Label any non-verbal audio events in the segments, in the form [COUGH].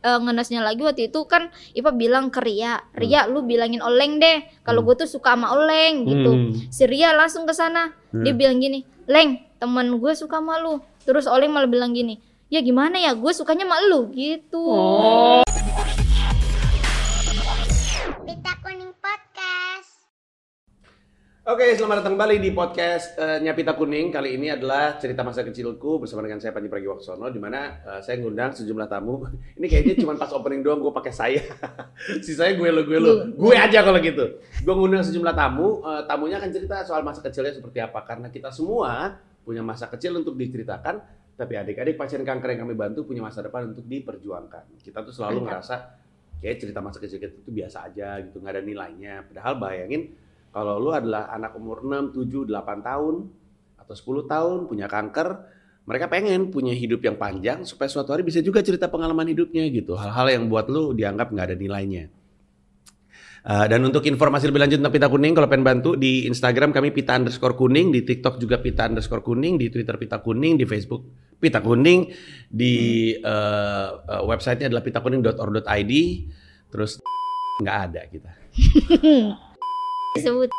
eh, ngenesnya lagi waktu itu kan Ipa bilang ke Ria, Ria Hmm. lu bilangin Oleng deh, kalau gue tuh suka sama Oleng gitu. Hmm. Si Ria langsung ke sana, dia Hmm. bilang gini, Leng temen gue suka sama lu. Terus Oleng malah bilang gini, ya gimana ya gue sukanya sama lu gitu. Pita Kuning Podcast. Oke, selamat datang kembali di podcast eh, Nyapita Kuning. Kali ini adalah cerita masa kecilku bersama dengan saya Panji Pragiwaksono di mana eh, saya ngundang sejumlah tamu. [LAUGHS] Ini kayaknya cuma pas opening doang gue pakai saya. [LAUGHS] Sisanya gue lo, gue lo. Gue aja kalau gitu. Gue ngundang sejumlah tamu, eh, tamunya akan cerita soal masa kecilnya seperti apa karena kita semua punya masa kecil untuk diceritakan, tapi adik-adik pasien kanker yang kami bantu punya masa depan untuk diperjuangkan. Kita tuh selalu Mantap. ngerasa kayak cerita masa kecil kita tuh biasa aja gitu, nggak ada nilainya. Padahal bayangin kalau lu adalah anak umur 6, 7, 8 tahun atau 10 tahun punya kanker, mereka pengen punya hidup yang panjang supaya suatu hari bisa juga cerita pengalaman hidupnya gitu. Hal-hal yang buat lu dianggap nggak ada nilainya. Eh, dan untuk informasi lebih lanjut tentang Pita Kuning, kalau pengen bantu di Instagram kami Pita underscore kuning, di TikTok juga Pita underscore kuning, di Twitter Pita Kuning, di Facebook Pita Kuning, di eh, eh, websitenya adalah pitakuning.or.id, terus nggak ada kita. [LAUGHS] Disebut.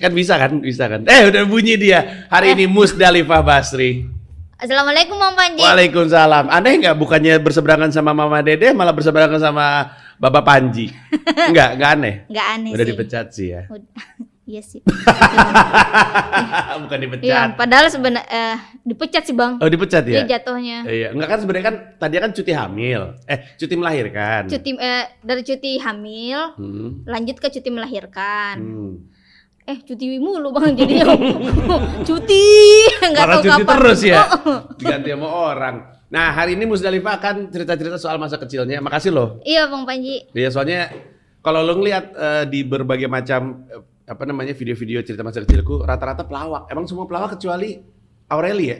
Kan bisa kan? Bisa kan? Eh udah bunyi dia. Hari ini Musdalifah Basri. Assalamualaikum Om Panji. Waalaikumsalam. Aneh nggak bukannya berseberangan sama Mama Dede malah berseberangan sama Bapak Panji? Enggak, enggak aneh. Nggak aneh Udah Iya sih. dipecat sih ya. [LAUGHS] Ud- [LAUGHS] Iya sih. Bukan Iya, dipecat. padahal sebenarnya eh, Iya. dipecat sih Bang. Oh, dipecat ya? Dia jatuhnya. Iya, enggak kan sebenarnya kan tadi kan cuti hamil. Eh, cuti melahirkan. Cuti eh, dari cuti hamil Hmm. lanjut ke cuti melahirkan. Hmm. Eh, cuti mulu Bang [LAUGHS] jadi [LAUGHS] cuti nggak Karena tahu cuti kapan. terus [LAUGHS] ya. Oh, oh. Diganti sama orang. Nah, hari ini Musdalifah akan cerita-cerita soal masa kecilnya. Makasih loh Iya Bang Panji. Iya soalnya kalau lo ngeliat eh, di berbagai macam eh, apa namanya video-video cerita masa kecilku rata-rata pelawak. Emang semua pelawak kecuali Aureli ya?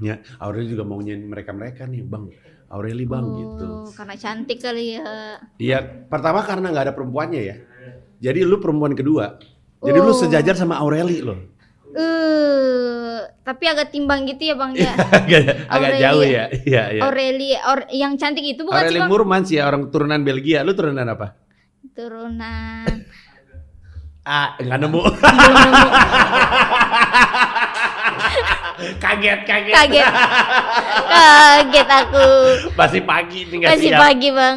Ya, Aureli juga maunya mereka-mereka nih, Bang. Aureli, Bang Oh, gitu. Karena cantik kali ya. Iya, pertama karena nggak ada perempuannya ya. Jadi lu perempuan kedua. Jadi lu Oh. sejajar sama Aureli lo. [LAUGHS] Eh, tapi agak timbang gitu ya Bang ya. agak, agak Aureli jauh ya? ya. Iya, [LAUGHS] iya. Aureli or- yang cantik itu bukan sih Aureli Bang? Murmans ya, orang turunan Belgia. Lu turunan apa? Turunan. Ah, nggak nemu. Belum nemu. [LAUGHS] kaget, kaget. Kaget. Kaget aku. [LAUGHS] Masih pagi nih [LAUGHS] nggak Masih siap. pagi [LAUGHS] Bang.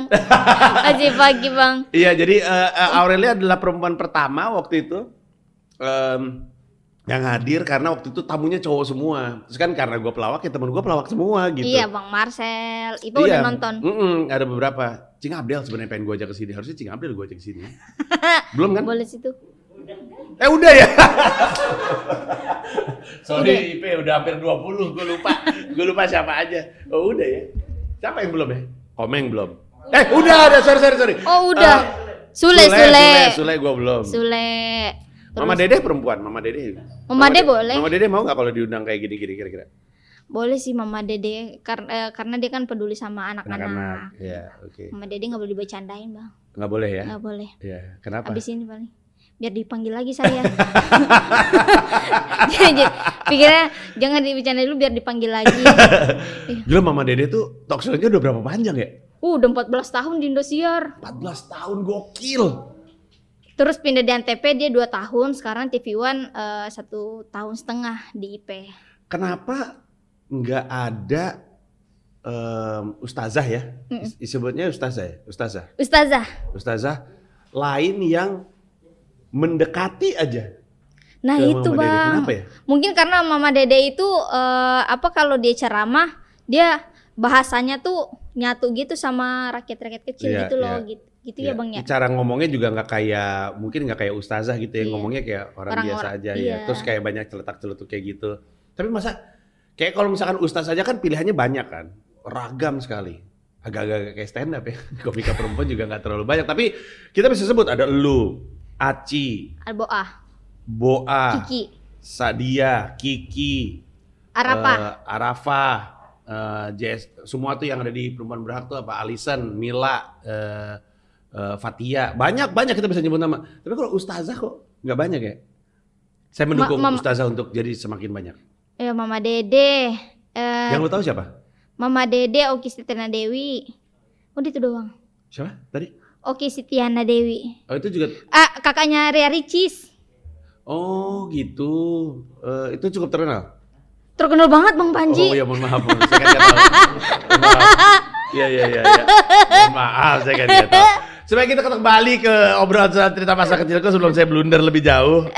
Masih pagi Bang. Iya, jadi eh, eh, Aurelia adalah perempuan pertama waktu itu em, yang hadir karena waktu itu tamunya cowok semua. Terus kan karena gue pelawak ya temen gue pelawak semua gitu. Iya Bang Marcel. Ibu udah Iya. nonton. Mm-mm, ada beberapa. Cing Abdel sebenarnya pengen gue ajak ke sini. Harusnya Cing Abdel gue ajak ke [LAUGHS] sini. Belum kan? Boleh situ. Eh udah ya. Udah. [LAUGHS] Sorry, IP udah hampir 20, gue lupa. gue lupa siapa aja. Oh, udah ya. Siapa yang belum ya? Komeng belum. Eh, udah, udah. Sorry, sorry, sorry. Oh udah. Eh, Sule Sule. Sule, Sule gue belum. Sule. Mama Dedeh perempuan, Mama Dedeh. Mama Dedeh Dede- boleh. Mama Dedeh mau nggak kalau diundang kayak gini gini kira-kira? Boleh sih Mama Dede kar- eh, karena dia kan peduli sama anak-anak. Anak-anak. Ya, oke. Mama Dede nggak boleh dibecandain Bang. Nggak boleh ya? Nggak boleh. Iya. Kenapa? Abis ini paling biar dipanggil lagi saya. [LAUGHS] Jadi pikirnya jangan dibicarain dulu biar dipanggil [LAUGHS] lagi. Gila Mama Dedeh tuh talk show-nya udah berapa panjang ya? Uh, udah 14 tahun di Indosiar. 14 tahun gokil. Terus pindah di Antv dia 2 tahun, sekarang TV One eh, satu tahun setengah di IP. Kenapa nggak ada em, ustazah ya? Mm-mm. Is- Disebutnya ustazah ya? Ustazah. Ustazah, Ustazah lain yang mendekati aja. nah ke itu Mama Dedeh. bang. Kenapa ya? Mungkin karena Mama Dede itu eh, apa kalau dia ceramah dia bahasanya tuh nyatu gitu sama rakyat-rakyat kecil Iya, gitu loh, iya. gitu, gitu ya Iya, bang ya. Cara ngomongnya juga nggak kayak mungkin nggak kayak ustazah gitu ya Iya. ngomongnya kayak orang, Orang- biasa orang- aja iya. ya. Terus kayak banyak celetak-celetuk kayak gitu. Tapi masa kayak kalau misalkan ustaz aja kan pilihannya banyak kan, ragam sekali. Agak-agak kayak stand up ya. [LAUGHS] Komika perempuan juga nggak terlalu banyak. Tapi kita bisa sebut ada lu, Aci, Alboah, Boa, Kiki, Sadia, Kiki, Arapa. eh, Arafah, eh, Jess, semua tuh yang ada di perempuan berhak tuh apa? Alison, Mila, eh, eh, Fatia, banyak banyak kita bisa nyebut nama. Tapi kalau Ustazah kok nggak banyak ya? Saya mendukung mam- Ustazah untuk jadi semakin banyak. Ya Mama Dede, eh yang lo tahu siapa? Mama Dede Oki Setina Dewi, Udah itu doang. Siapa tadi? Oke, Sitiana Dewi. Oh itu juga. Ah, kakaknya Ria Ricis. Oh gitu. Eh, itu cukup terkenal. Terkenal banget Bang Panji. Oh iya mohon maaf. Mohon. Saya kan nggak tahu. Mohon maaf. Iya iya iya. iya. Mohon maaf saya kan nggak tahu. Sebaiknya kita kembali ke obrolan soal cerita masa kecilku sebelum saya blunder lebih [LAUGHS] jauh.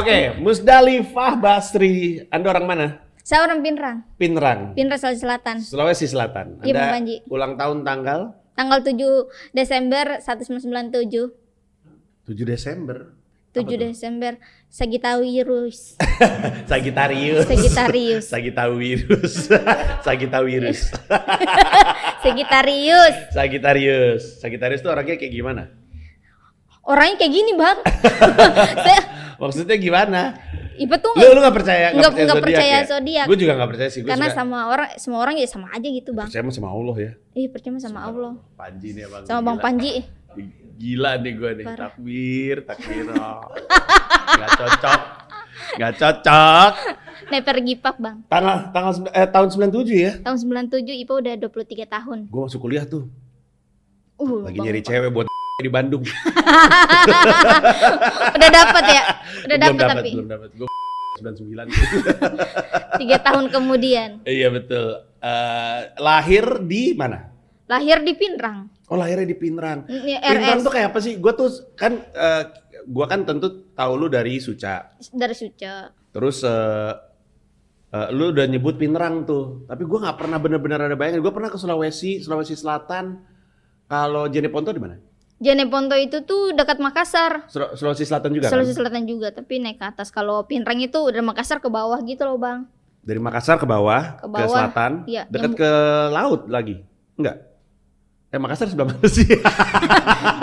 Oke, Musdalifah Basri. Anda orang mana? Saya orang Pinrang, Pinrang, Pinrang Sulawesi Selatan. Sulawesi Selatan. Iya, Bang Anda Panji. ulang tahun tanggal Tanggal 7 Desember 1997. 7 Desember. [LAUGHS] 7 Apa tuh? Desember Sagittarius. Sagitarius. [LAUGHS] Sagittarius. Sagitawirus. [LAUGHS] Sagitawirus. Sagittarius. Sagitarius. Sagitarius tuh orangnya kayak gimana? Orangnya kayak gini, [LAUGHS] Bang. Saya Maksudnya gimana? Iba tuh Lu lu gak percaya Nggak- nggak zodiak percaya ya? zodiak. Gue juga gak percaya sih. Gue karena suka- sama orang semua orang ya sama aja gitu, Bang. percaya sama Allah ya. Ih, percaya sama Allah. Panji nih bang. Sama Bang Panji. Gila nih gue nih. Parah. Takbir, takbir. gak cocok. Gak cocok. Never give up, Bang. Tanggal tanggal sembilan- eh, tahun 97 ya. Tahun 97 Ipa udah 23 tahun. Gue masuk kuliah tuh. Uh, Lagi Bang nyari Ipa. cewek buat di Bandung. [LAUGHS] Udah dapat [LAUGHS] ya? Udah dapat dapet, tapi Belum dapat. Gue 99. 3 tahun kemudian Iya betul. Eh, lahir di mana? lahir di Pinrang. Oh lahirnya di Pinrang. Mm, ya, Pinrang RS tuh kayak apa sih? Gue tuh kan eh, gua kan tentu tahu lu dari Suca. dari Suce. Terus eh, eh, lu udah nyebut Pinrang tuh, tapi gua nggak pernah bener-bener ada bayangan. Gue pernah ke Sulawesi, Sulawesi Selatan. Kalau Jeneponto di mana? Janeponto itu tuh dekat Makassar. Sul- Sulawesi Selatan juga Sulawesi kan? Selatan juga, tapi naik ke atas. Kalau Pinrang itu udah Makassar ke bawah gitu loh, Bang. Dari Makassar ke bawah, ke, Ke bawah, selatan, iya, dekat nyambung. ke laut lagi. Enggak. Eh Makassar sebelah mana sih? [LAUGHS]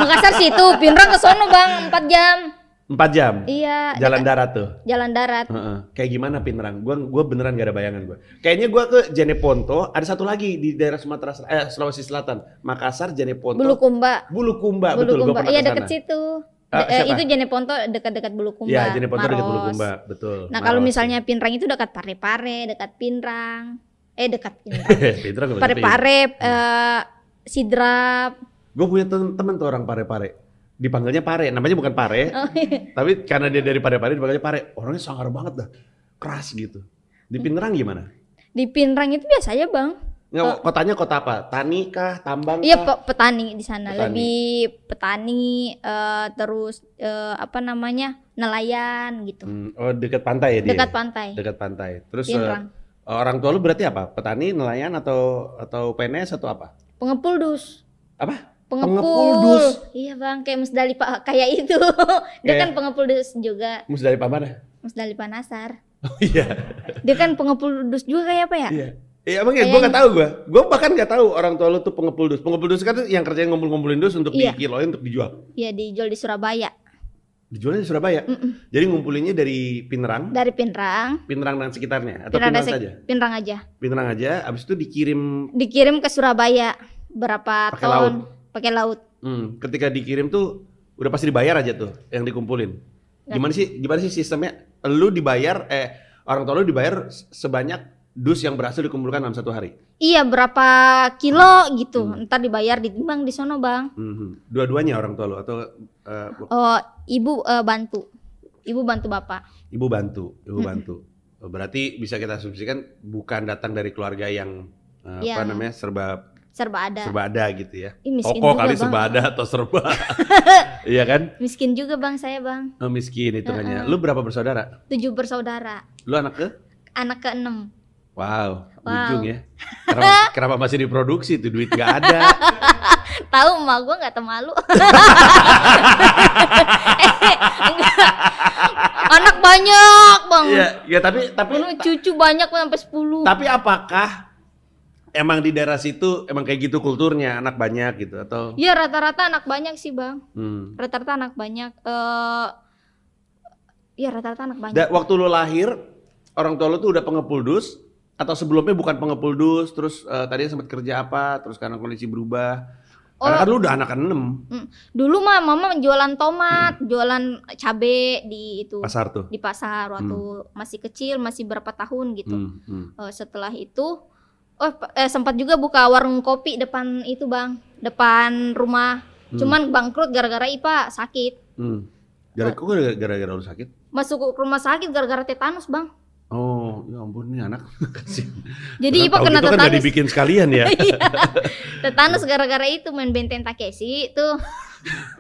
Makassar situ, Pinrang ke sono, Bang, 4 jam. Empat jam. Iya, Jalan darat tuh. jalan darat. Heeh. Kayak gimana Pinrang? Gua gua beneran gak ada bayangan gua. Kayaknya gua ke Jeneponto, ada satu lagi di daerah Sumatera Sel- eh, Sulawesi Selatan, Makassar, Jeneponto. Bulukumba. Bulukumba, Ah, betul gua Bulukumba. pernah Iya, ke sana. dekat situ. Ah, De- eh, siapa? itu Janeponto dekat-dekat Bulukumba. Iya, Jeneponto dekat Maros. Bulukumba, betul. Nah, kalau Maros. [LAUGHS] iya. misalnya Pinrang itu dekat Parepare, dekat Pinrang. Eh, [LAUGHS] dekat Pinrang. Pinrang gua ngerti. Parepare, eh, Sidrap. [LAUGHS] Gua punya tem- temen tuh orang Pare-Pare. Dipanggilnya Pare, namanya bukan Pare, [LAUGHS] tapi karena dia dari Pare-Pare dipanggilnya Pare. Orangnya sangar banget dah. Keras gitu. Di Hmm. Pinrang gimana? Di Pinrang itu biasa aja, Bang. Nggak, kotanya kota apa? Tani kah? Tambang Eh. Iya kah? pe- petani di sana Petani. lebih petani eh, terus eh, apa namanya nelayan gitu Hmm, oh, dekat pantai ya dia? dekat pantai dekat pantai. Terus eh, Pinrang Orang tua lu berarti apa? Petani, nelayan atau atau PNS atau apa? pengepul dus Apa? pengepul, Pengepul dus. iya bang kayak Musdalifah kayak itu [LAUGHS] dia Kayak- kan pengepul dus juga Mus dari mana? Musdalifah Nasar [LAUGHS] Oh iya. dia kan pengepul dus juga kayak apa ya Iya. Iya emang ya, gue gak tahu gue. Gue bahkan gak tahu orang tua lu tuh pengepul dus. Pengepul dus kan yang kerjanya ngumpul-ngumpulin dus untuk Iya. dikiloin untuk dijual. ya dijual di Surabaya Dijualnya di Surabaya. Mm-mm. Jadi ngumpulinnya dari Pinrang, dari Pinrang Pinrang dan sekitarnya atau Pinrang dan Pinrang, sek- saja. Pinrang aja Pinrang aja. Abis itu dikirim dikirim ke Surabaya berapa Pakai ton laut. pakai laut Hmm, ketika dikirim tuh udah pasti dibayar aja tuh yang dikumpulin. Iya. Gimana sih gimana sih sistemnya? Lu dibayar eh orang tua lu dibayar se- sebanyak dus yang berhasil dikumpulkan dalam satu hari. Iya berapa kilo gitu, Hmm. ntar dibayar ditimbang di sono bang. Mhm. Dua-duanya orang tua lu atau eh, bu- Oh ibu eh, bantu, ibu bantu bapak. ibu bantu, ibu Mm-mm. bantu. Oh, Berarti bisa kita asumsikan bukan datang dari keluarga yang eh, Iya. apa namanya serba Serba ada. serba ada gitu ya. Ih, miskin Toko juga kali bang. serba ada atau [LAUGHS] serba. iya kan? Miskin juga bang saya bang. Eh, Miskin hitungannya. Lu berapa bersaudara? Tujuh bersaudara, Lu anak ke? anak keenam. Wow, Wow. ujung [LAUGHS] ya. Kenapa, kenapa masih diproduksi tuh duit nggak ada? Tahu emak gue nggak termalu. [LAUGHS] Eh, enggak. anak banyak bang. Iya, ya tapi tapi Dulu cucu banyak Bang, sampai sepuluh. tapi apakah emang di daerah situ emang kayak gitu kulturnya anak banyak gitu atau Iya rata-rata anak banyak sih bang. hmm. Rata-rata anak banyak. Eh Iya rata-rata anak banyak. Da- waktu lu lahir orang tua lu tuh udah pengepul dus atau sebelumnya bukan pengepul dus terus eh, tadi sempat kerja apa terus karena kondisi berubah Oh. karena kan lu udah anak enam Dulu mah mama jualan tomat, jualan cabe di itu pasar tuh di pasar waktu masih kecil, masih berapa tahun gitu. Hmm, hmm. Eh, setelah itu oh pa- eh, sempat juga buka warung kopi depan itu bang depan rumah Hmm. cuman bangkrut gara-gara ipa sakit Hmm. Gara- kok gara- gara-gara lu sakit? masuk ke rumah sakit gara-gara tetanus bang Oh, ya ampun nih anak. [LAUGHS] Kasihan. jadi ipa Tahun kena itu kan nggak tetanus dibikin sekalian ya. [LAUGHS] Iya. tetanus gara-gara itu main benteng Takeshi tuh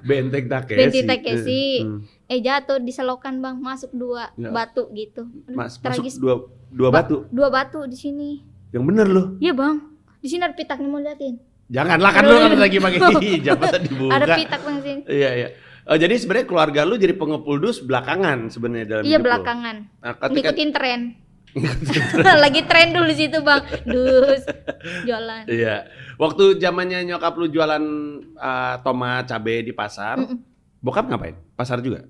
Benteng Takeshi. Benteng Takeshi. Hmm. eh jatuh diselokan bang masuk dua Ya. batu gitu Aduh, Mas, masuk tragis dua dua Ba- batu. dua batu di sini Yang bener loh. iya bang di sini ada pitaknya mau liatin Janganlah kan lu kan lagi [LAUGHS] pakai hijab masa dibuka. ada pitak bang di sini Iya, iya. Oh, jadi sebenarnya keluarga lu jadi pengepuldus belakangan sebenarnya dalam iya hidup lu. belakangan Nah, ketika ngikutin tren [LAUGHS] lagi tren dulu di situ bang dus jualan iya. Waktu zamannya nyokap lu jualan eh, tomat cabe di pasar, Mm-mm. bokap ngapain? Pasar juga.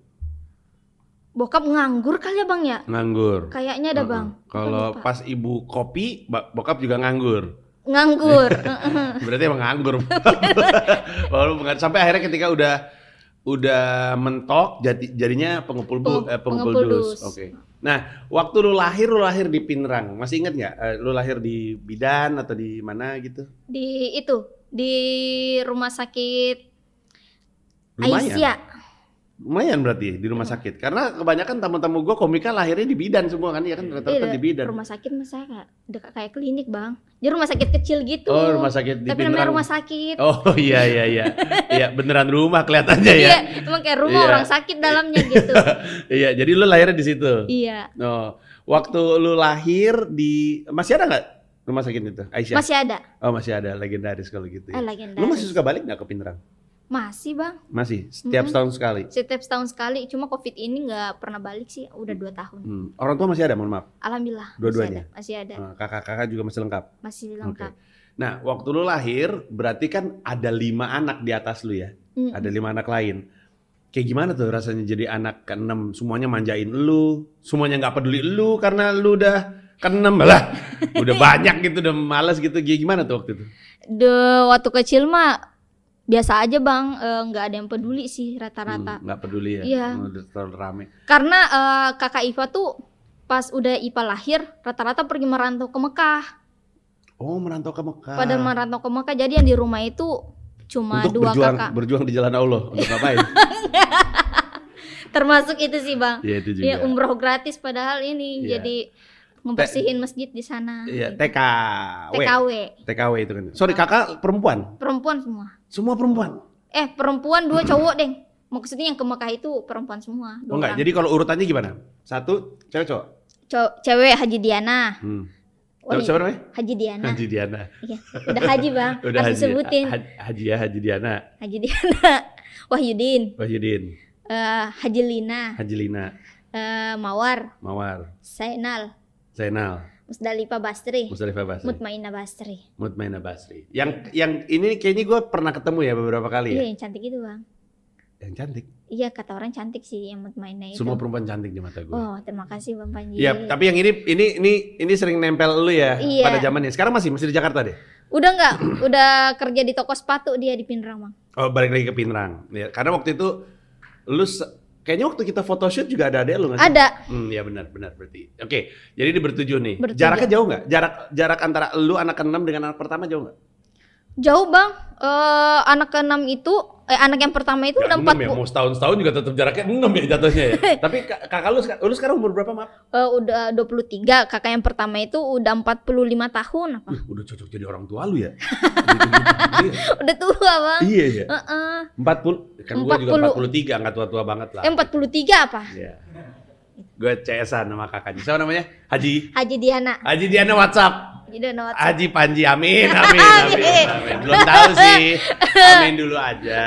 bokap nganggur kali ya bang ya Nganggur. kayaknya ada Heeh. bang Kalau Bukan lupa. pas ibu kopi, ba- bokap juga nganggur. nganggur [LAUGHS] Heeh. Berarti emang [LAUGHS] nganggur. Lalu bukan- sampai akhirnya ketika udah udah mentok jadi jadinya pengepul bu, Peng- eh, pengepul pengepul dus. dus. Oke. Nah, waktu lu lahir lu lahir di Pinrang. Masih inget nggak? Eh, lu lahir di Bidan atau di mana gitu? di itu di rumah sakit Lumayan. Aisyah Iya. Lumayan berarti di rumah sakit. Karena kebanyakan tamu-tamu gua komika lahirnya di Bidan semua kan, ya kan Iya, rata-rata di Bidan. rumah sakit mas saya kayak- dekat kayak klinik bang jadi rumah sakit kecil gitu Oh, rumah sakit di tapi namanya Pinrang. rumah sakit Oh iya iya [LAUGHS] iya. Iya, beneran rumah kelihatannya ya. iya emang kayak rumah Iya. orang sakit dalamnya [LAUGHS] gitu Iya, jadi lu lahirnya di situ. iya Oh, waktu lu lahir di masih ada nggak rumah sakit itu? Aisyah. masih ada Oh masih ada legendaris kalau gitu. eh Ya. legenda Lu masih suka balik nggak ke Pinterang? masih bang Masih. Setiap Mm-mm. setahun sekali. setiap setahun sekali cuma covid ini nggak pernah balik sih udah dua tahun Hmm. Orang tua masih ada, mohon maaf. alhamdulillah masih Dua-duanya? ada, masih ada Eh, Kakak-kakak juga masih lengkap. masih Oke. lengkap Nah, waktu lu lahir berarti kan ada lima anak di atas lu ya. Mm-mm. Ada lima anak lain. Kayak gimana tuh rasanya jadi anak keenam? Semuanya manjain lu, semuanya nggak peduli lu karena lu udah keenam [LAUGHS] lah. Udah banyak gitu, udah males gitu. Kayak gimana tuh waktu itu? de waktu kecil mah biasa aja bang eh, nggak ada yang peduli sih rata-rata Hmm, nggak peduli ya. Iya. Udah terlalu rame. karena eh, kakak Iva tuh pas udah Iva lahir rata-rata pergi merantau ke Mekah Oh, merantau ke Mekah. pada merantau ke Mekah jadi yang di rumah itu cuma untuk dua berjuang, kakak berjuang di jalan Allah. Untuk [LAUGHS] ngapain? termasuk itu sih bang Iya itu juga. ya umroh gratis padahal ini Iya. jadi membersihin masjid di sana Iya, gitu. TKW. TKW TKW itu kan. Sorry, kakak perempuan. perempuan semua Semua perempuan. Oh, Eh perempuan dua [CLEARS THROAT] cowok deng. Maksudnya yang ke Mekah itu perempuan semua. Oh dua enggak, orang. jadi kalau urutannya gimana? Satu, cewek cowok. Cow- cewek Haji Diana. Hmm. Wali- Siapa namanya? Haji Diana. Haji Diana. Iya, udah Haji bang. [LAUGHS] Udah Harus Haji. disebutin. Ha- Haji ya, Haji Diana. Haji Diana. [LAUGHS] Wahyudin. Wahyudin, Eh, Haji Lina. Haji Lina, Eh, Mawar. Mawar, Sainal. Zainal, Musdalifah Basri. Mustalifah Basri, Mutmainah Basri. Mutmainah Basri. Yang yang ini kayaknya gue pernah ketemu ya beberapa kali Iya ya. yang cantik itu bang. Yang cantik. Iya kata orang cantik sih yang Mutmainah Iya, itu. Semua perempuan cantik di mata gue. Oh terima kasih bang Panji. Iya, tapi yang ini ini ini ini sering nempel lu ya Iya. pada zamannya. Sekarang masih masih di Jakarta deh. Udah nggak? udah kerja di toko sepatu dia di Pinrang bang. Oh, balik lagi ke Pinrang. Ya, karena waktu itu lu se- kayaknya waktu kita photoshoot juga ada adek lu nggak sih? Ada. Hmm, ya benar benar berarti. Oke, jadi ini bertujuh nih. Bertujuh. Jaraknya jauh nggak? Jarak jarak antara lu anak keenam dengan anak pertama jauh nggak? Jauh bang, eh anak keenam itu, eh anak yang pertama itu udah empat enam ya, mau setahun-setahun juga tetap jaraknya enam ya jatuhnya [LAUGHS] ya. Tapi ka- kakak lu, seka- lu sekarang umur berapa, Map? Eh, udah 23, kakak yang pertama itu udah 45 tahun apa? [LAUGHS] Wih, udah cocok jadi orang tua lu ya. udah tua bang. iya, iya. Heeh. 40, kan gua juga 40. 43, nggak tua-tua banget lah. Eh 43 apa? [LAUGHS] Iya. Gue CS-an sama kakaknya. Siapa namanya? Haji. Haji Diana. Haji Diana WhatsApp. Haji Diana Watson. Haji Panji [LAUGHS] Amin, amin, amin, Amin. amin. Belum tahu sih. Amin dulu aja.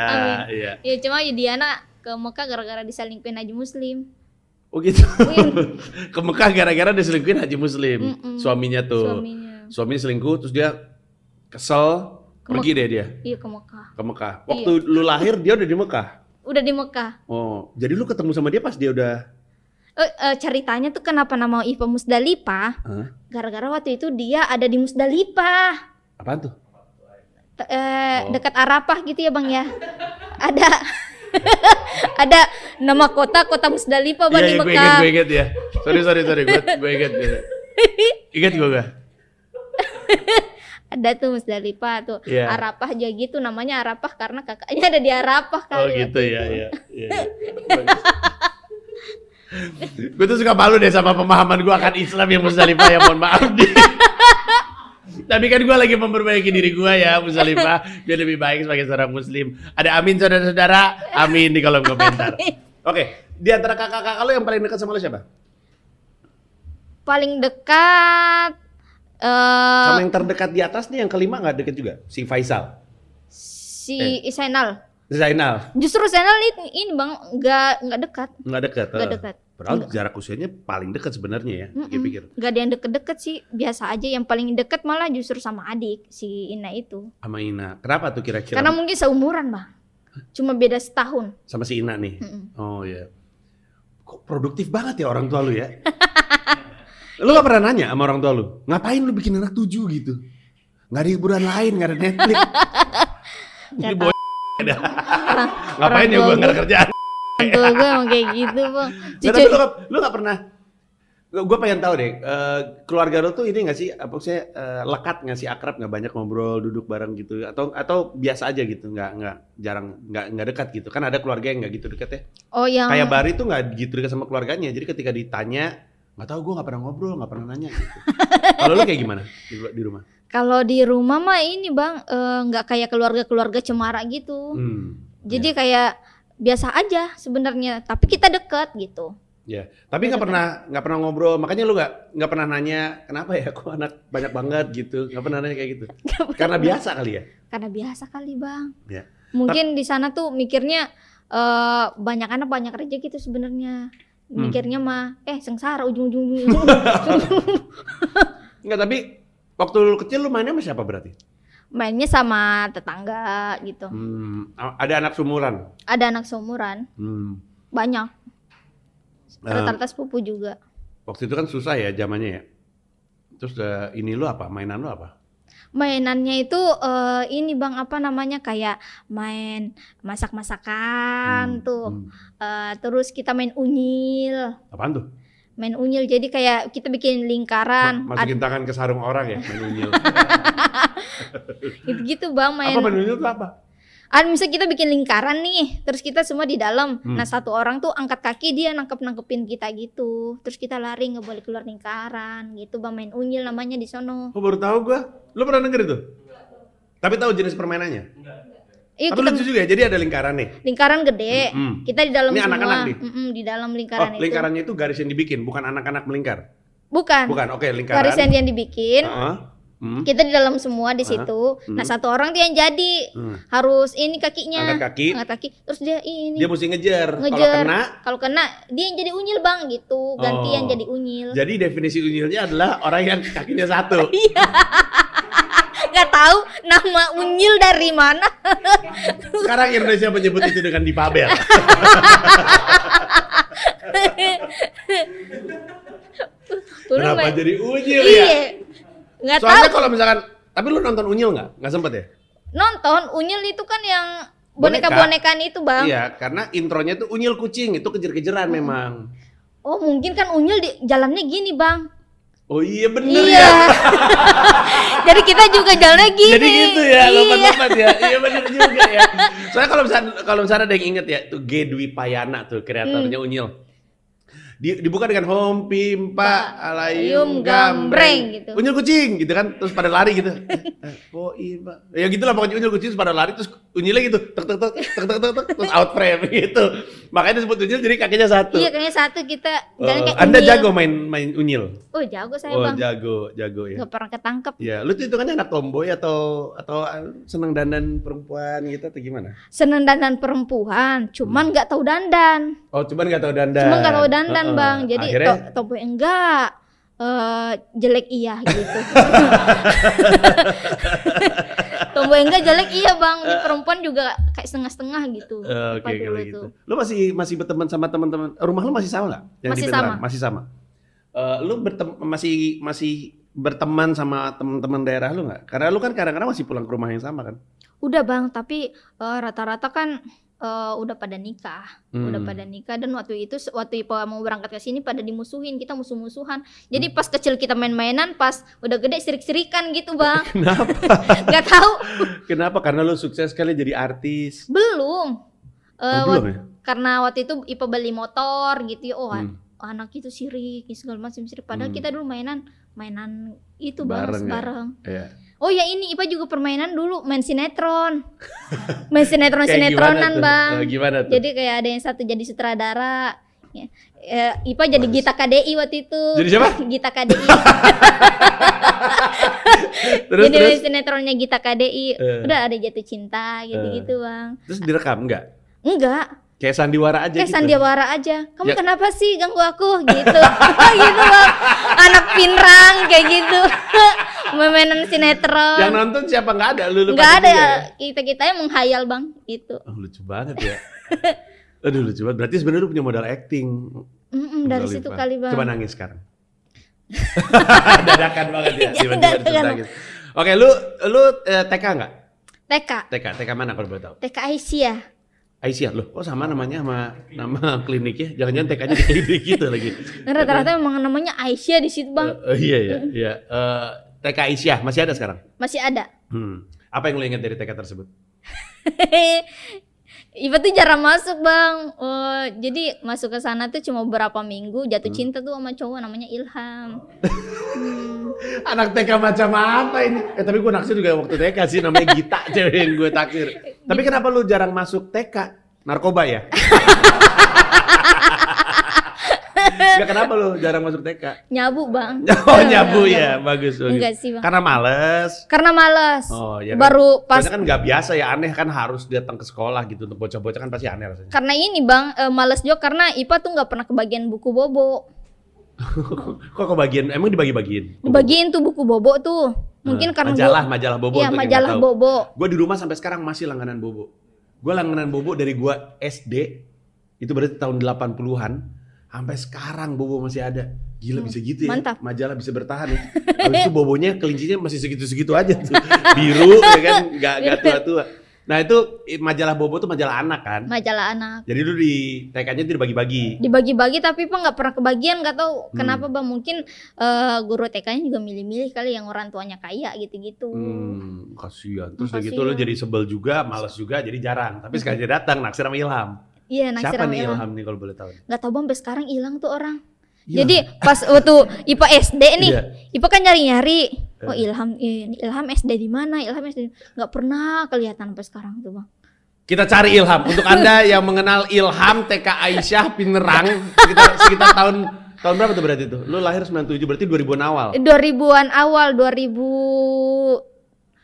Iya. Ya cuma Haji Diana ke Mekah gara-gara diselingkuhin Haji [LAUGHS] Muslim. Oh gitu. [LAUGHS] Win Ke Mekah gara-gara diselingkuhin Haji Muslim, Mm-mm. suaminya tuh. suaminya. Suaminya selingkuh terus dia kesel, Ke pergi deh dia Iya ke Mekah. ke Mekah. Waktu lu lahir dia udah di Mekah. Udah di Mekah. Oh, jadi lu ketemu sama dia pas dia udah Eh, eh, ceritanya tuh kenapa nama Iva Musdalifah? Hah? Gara-gara waktu itu dia ada di Musdalifah. apaan tuh? T- eh, Oh. dekat Arafah gitu ya bang ya ada [LAUGHS] ada nama kota kota Musdalifah bang di Iya, iya, Mekah gue inget, gue inget [LAUGHS] ya. Sorry, sorry, sorry. Gue, gue inget. Gue inget gue gak? ada tuh Musdalifah tuh Iya. Arapah aja gitu namanya Arapah karena kakaknya ada di Arapah Oh kali gitu ya, ya. gue tuh suka malu deh sama pemahaman gue akan Islam yang Musdalifah ya mohon maaf nih. Tapi kan gue lagi memperbaiki diri gue ya Musdalifah biar lebih baik sebagai seorang Muslim. Ada amin saudara-saudara, amin di kolom komentar. Oke, di antara kakak-kakak lo yang paling dekat sama lo siapa? paling dekat eh Sama yang terdekat di atas nih yang kelima nggak deket juga, si Faisal, si Eh. Isainal Zainal justru Isainal ini, ini bang nggak nggak dekat nggak dekat. nggak eh. dekat Padahal jarak usianya paling dekat sebenarnya ya, Mm-mm. pikir-pikir. nggak ada yang deket-deket sih biasa aja yang paling deket malah justru sama adik si Ina itu Sama Ina, kenapa tuh kira-kira karena mungkin seumuran bang cuma beda [LAUGHS] setahun sama si Ina nih? Mm-mm. Oh iya. Kok produktif banget ya orang tua lu ya? lu gak pernah nanya sama orang tua lu, ngapain lu bikin anak tujuh gitu? Gak ada hiburan lain, gak ada Netflix. Ini Nggak boy. [LAUGHS] orang Ngapain ya tua gue gua. nggak ada kerjaan? Orang tua gue emang kayak gitu bang Nah, Jujur, tapi lu, gak, lu gak pernah gue pengen tahu deh eh, keluarga lu tuh ini gak sih apa sih eh, lekat gak sih akrab gak banyak ngobrol duduk bareng gitu atau atau biasa aja gitu nggak nggak jarang nggak nggak dekat gitu kan ada keluarga yang nggak gitu dekat ya oh yang kayak Bari tuh nggak gitu dekat sama keluarganya jadi ketika ditanya nggak tahu gue nggak pernah ngobrol nggak pernah nanya gitu. kalau lu kayak gimana di, di rumah kalau di rumah mah ini bang eh, nggak kayak keluarga-keluarga cemara gitu hmm. jadi kayak biasa aja sebenarnya tapi kita deket gitu tapi nggak pernah nggak pernah ngobrol makanya lu nggak nggak pernah nanya kenapa ya kok anak banyak banget gitu nggak pernah nanya kayak gitu karena biasa kali ya [LAUGHS] karena biasa kali bang Iya. mungkin di sana tuh mikirnya eh, banyak anak banyak rezeki gitu sebenarnya Hmm. mikirnya mah eh sengsara ujung-ujung [LAUGHS] Enggak, tapi waktu lu kecil lu mainnya sama siapa berarti? mainnya sama tetangga gitu Hmm, a- ada anak sumuran. ada anak seumuran Hmm. banyak Eh, rata-rata sepupu juga waktu itu kan susah ya zamannya ya. Terus eh, ini lu apa? Mainan lu apa? mainannya itu eh, ini bang apa namanya kayak main masak-masakan Hmm, tuh hmm. Eh, terus kita main unyil Apaan tuh? main unyil jadi kayak kita bikin lingkaran Ma- masukin tangan ke sarung orang ya, main unyil. gitu gitu bang main apa main unyil tuh apa? Ah, misalnya kita bikin lingkaran nih, terus kita semua di dalam. Hmm. Nah, satu orang tuh angkat kaki dia nangkep-nangkepin kita gitu. Terus kita lari nggak boleh keluar lingkaran gitu. Bang main unyil namanya di sono. Oh, baru tahu gua. Lu pernah denger itu? Tapi tahu jenis permainannya? Iya, Tapi kita lucu juga ya, jadi ada lingkaran nih. lingkaran gede. Mm-mm. Kita di dalam Hmm. Ini semua. anak-anak nih? Mm-mm, di dalam lingkaran Oh, itu. lingkarannya itu garis yang dibikin, bukan anak-anak melingkar. Bukan. Bukan, oke lingkaran. Ah. Garis yang dia dibikin. Heeh. Hmm. Kita di dalam semua di Ah, situ. Nah, hmm. satu orang dia yang jadi. Hmm. Harus ini kakinya. Angkat kaki, Iya. Angkat kaki. Terus dia ini. dia mesti ngejar. Kalau Ngejar. kena, Kalau kena dia yang jadi unyil, Bang, gitu. Gantian Oh. jadi unyil. Jadi definisi unyilnya adalah orang yang kakinya satu. [LAUGHS] Iya, nggak tahu nama unyil dari mana [LAUGHS] Sekarang Indonesia menyebut itu dengan [LAUGHS] dipabel. Turun, Kenapa Mbak. jadi unyil ya? iya nggak tahu Soalnya kalau misalkan, tapi lu nonton unyil nggak? Nggak sempet ya? nonton unyil itu kan yang boneka Boneka. bonekaan itu bang Iya, karena intronya tuh unyil kucing, itu Hmm. kejer-kejeran memang. oh mungkin kan unyil di jalannya gini bang Oh iya bener iya ya. [LAUGHS] jadi kita juga jalannya gini Jadi gitu ya, iya. lompat-lompat ya. Iya benar juga ya. Soalnya kalau misalkan kalau misalkan ada yang inget ya, tuh G Dwi Payana tuh kreatornya Hmm. unyil. Di- dibuka dengan home pimpa alayum Alayum gambreng, gambreng gitu. unyil kucing gitu kan terus pada lari [LAUGHS] gitu oh iya Pak. ya gitulah pokoknya unyil kucing terus pada lari terus unyilnya gitu tek tek tek tek tek tek, tek, terus out frame [LAUGHS] gitu makanya disebut unyil jadi kakinya satu Iya, kayaknya satu kita jalan Eh, kayak anda unyil. jago main main unyil oh jago saya oh bang jago jago ya nggak pernah ketangkep Ya, lu tuh hitungannya anak tomboy atau atau ah, seneng dandan perempuan gitu atau gimana? seneng dandan perempuan Hmm. cuman nggak tahu dandan Oh, cuman gak tau dandan. Cuma nggak tahu dandan Heeh. bang, jadi Akhirnya, to- tomboy enggak, eh, jelek iya [LAUGHS] gitu. [LAUGHS] tomboy enggak jelek iya bang, Ini perempuan juga kayak setengah-setengah gitu. Eh, oke Apa dulu kalau gitu. tuh. Lu masih masih berteman sama teman-teman. Rumah lu masih sama nggak? Yang di Masih Veteran? sama. Masih sama. Eh, lu bertem- masih masih berteman sama teman-teman daerah lu nggak? Karena lu kan kadang-kadang masih pulang ke rumah yang sama kan? Udah bang, tapi eh, rata-rata kan eh, udah pada nikah Hmm. udah [LAUGHS] pada nikah dan waktu itu waktu Ipa mau berangkat ke sini pada dimusuhin kita musuh-musuhan Hmm. jadi pas kecil kita main-mainan pas udah gede sirik-sirikan gitu bang Kenapa? nggak tahu Kenapa? Karena lu sukses sekali jadi artis. belum Eh, Oh, wa- belum ya? karena waktu itu Ipa beli motor gitu ya oh an- Hmm. anak itu sirik ya, segala macam sirik padahal Hmm. kita dulu mainan mainan itu bareng Bareng ya? bareng Iya. oh ya ini Ipa juga permainan dulu main [LAUGHS] sinetron main sinetron Kayak gimana sinetronan tuh? bang Eh, gimana tuh? Jadi kayak ada yang satu jadi sutradara. Ya. Eh, Ipa jadi Bagus. Gita KDI waktu itu. Jadi siapa? [LAUGHS] Gita KDI. [LAUGHS] terus jadi [LAUGHS] terus sinetronnya Gita KDI. Eh. Udah ada jatuh cinta gitu-gitu, Bang. terus direkam nggak? Enggak, Kayak sandiwara aja kayak gitu. sandiwara Eh, aja. Kamu Ya. kenapa sih ganggu aku gitu? [LAUGHS] gitu, Bang. Anak pinrang kayak gitu. [LAUGHS] Memainan Yang sinetron. nonton siapa nggak ada lu lu Enggak pada ada juga ya? kita-kita yang menghayal, Bang, gitu. Oh, lucu banget [LAUGHS] ya. Aduh lucu banget. Berarti sebenarnya lu punya modal acting. Mm-mm, Hmm, dari Zalifah. situ kali, Bang. Coba nangis [LAUGHS] sekarang. Dadakan banget ya. Iya, tiba-tiba disuruh dadakan. nangis. Oke, lu lu eh, TK nggak? TK, TK, TK mana kalau boleh tahu? TK Aisyah. Aisyah loh, kok sama namanya sama nama kliniknya? Jangan-jangan TK-nya di [LAUGHS] klinik gitu lagi. Kan Rata-rata memang namanya Aisyah di situ, Bang. Eh, eh, iya iya iya. Eh, TK Aisyah masih ada sekarang. Masih ada. [LAUGHS] Hmm. Apa yang lu ingat dari TK tersebut? Ipa tuh jarang masuk bang, Eh, jadi masuk ke sana tuh cuma beberapa minggu jatuh Hmm. cinta tuh sama cowok namanya Ilham. Hmm. Anak TK macam apa ini? Eh tapi gue naksir juga waktu TK sih namanya Gita [LAUGHS] cewek yang gue taksir. Tapi kenapa lu jarang masuk TK? Narkoba [LAUGHS] ya? Gak kenapa lu jarang masuk TK? Nyabu bang. [LAUGHS] Oh nyabu ya, bagus bagus. Enggak sih bang. Karena males. Karena malas. Oh ya. Kan? Baru pas Soalnya kan nggak biasa ya aneh kan harus datang ke sekolah gitu untuk bocah-bocah kan pasti aneh rasanya. [LAUGHS] karena ini bang eh, malas juga karena Ipa tuh nggak pernah kebagian buku bobo. Kok kebagian? Emang dibagi-bagiin? Dibagiin tuh buku bobo tuh. Mungkin Eh, karena majalah gua- majalah Iya bobo. untuk yang nggak majalah tahu. bobo. Gue di rumah sampai sekarang masih langganan bobo. Gue langganan bobo dari gue SD, itu berarti tahun 80-an, sampai sekarang bobo masih ada. Gila bisa gitu ya, Hmm. mantap. majalah bisa bertahan [LAUGHS] ya. Habis itu bobonya kelincinya masih segitu-segitu aja tuh. Biru ya kan, gak, gak tua-tua. Nah itu i- majalah bobo tuh majalah anak kan. Majalah anak. Jadi dulu di TK-nya itu dibagi-bagi. dibagi-bagi tapi Pak nggak pernah kebagian nggak tahu Hmm. kenapa bang mungkin eh, guru TK-nya juga milih-milih kali yang orang tuanya kaya gitu-gitu Hmm, kasihan. Terus udah gitu lo Kasihan. jadi sebel juga, males juga, jadi jarang. Tapi sekali dia datang, naksir sama Ilham. iya naksir Siapa sama nih Ilham Ilham nih kalau boleh tahu? nggak tahu bang sampai sekarang hilang tuh orang Ilham. jadi pas waktu IPA SD nih Iya. IPA kan nyari-nyari oh Eh. Ilham ini Ilham SD di mana Ilham SD di- nggak pernah kelihatan sampai sekarang tuh bang Kita cari Ilham. Untuk Anda yang mengenal Ilham TK Aisyah Pinerang sekitar, sekitar tahun tahun berapa tuh berarti tuh? Lu lahir 97 berarti 2000-an awal. 2000-an Eh, awal 2000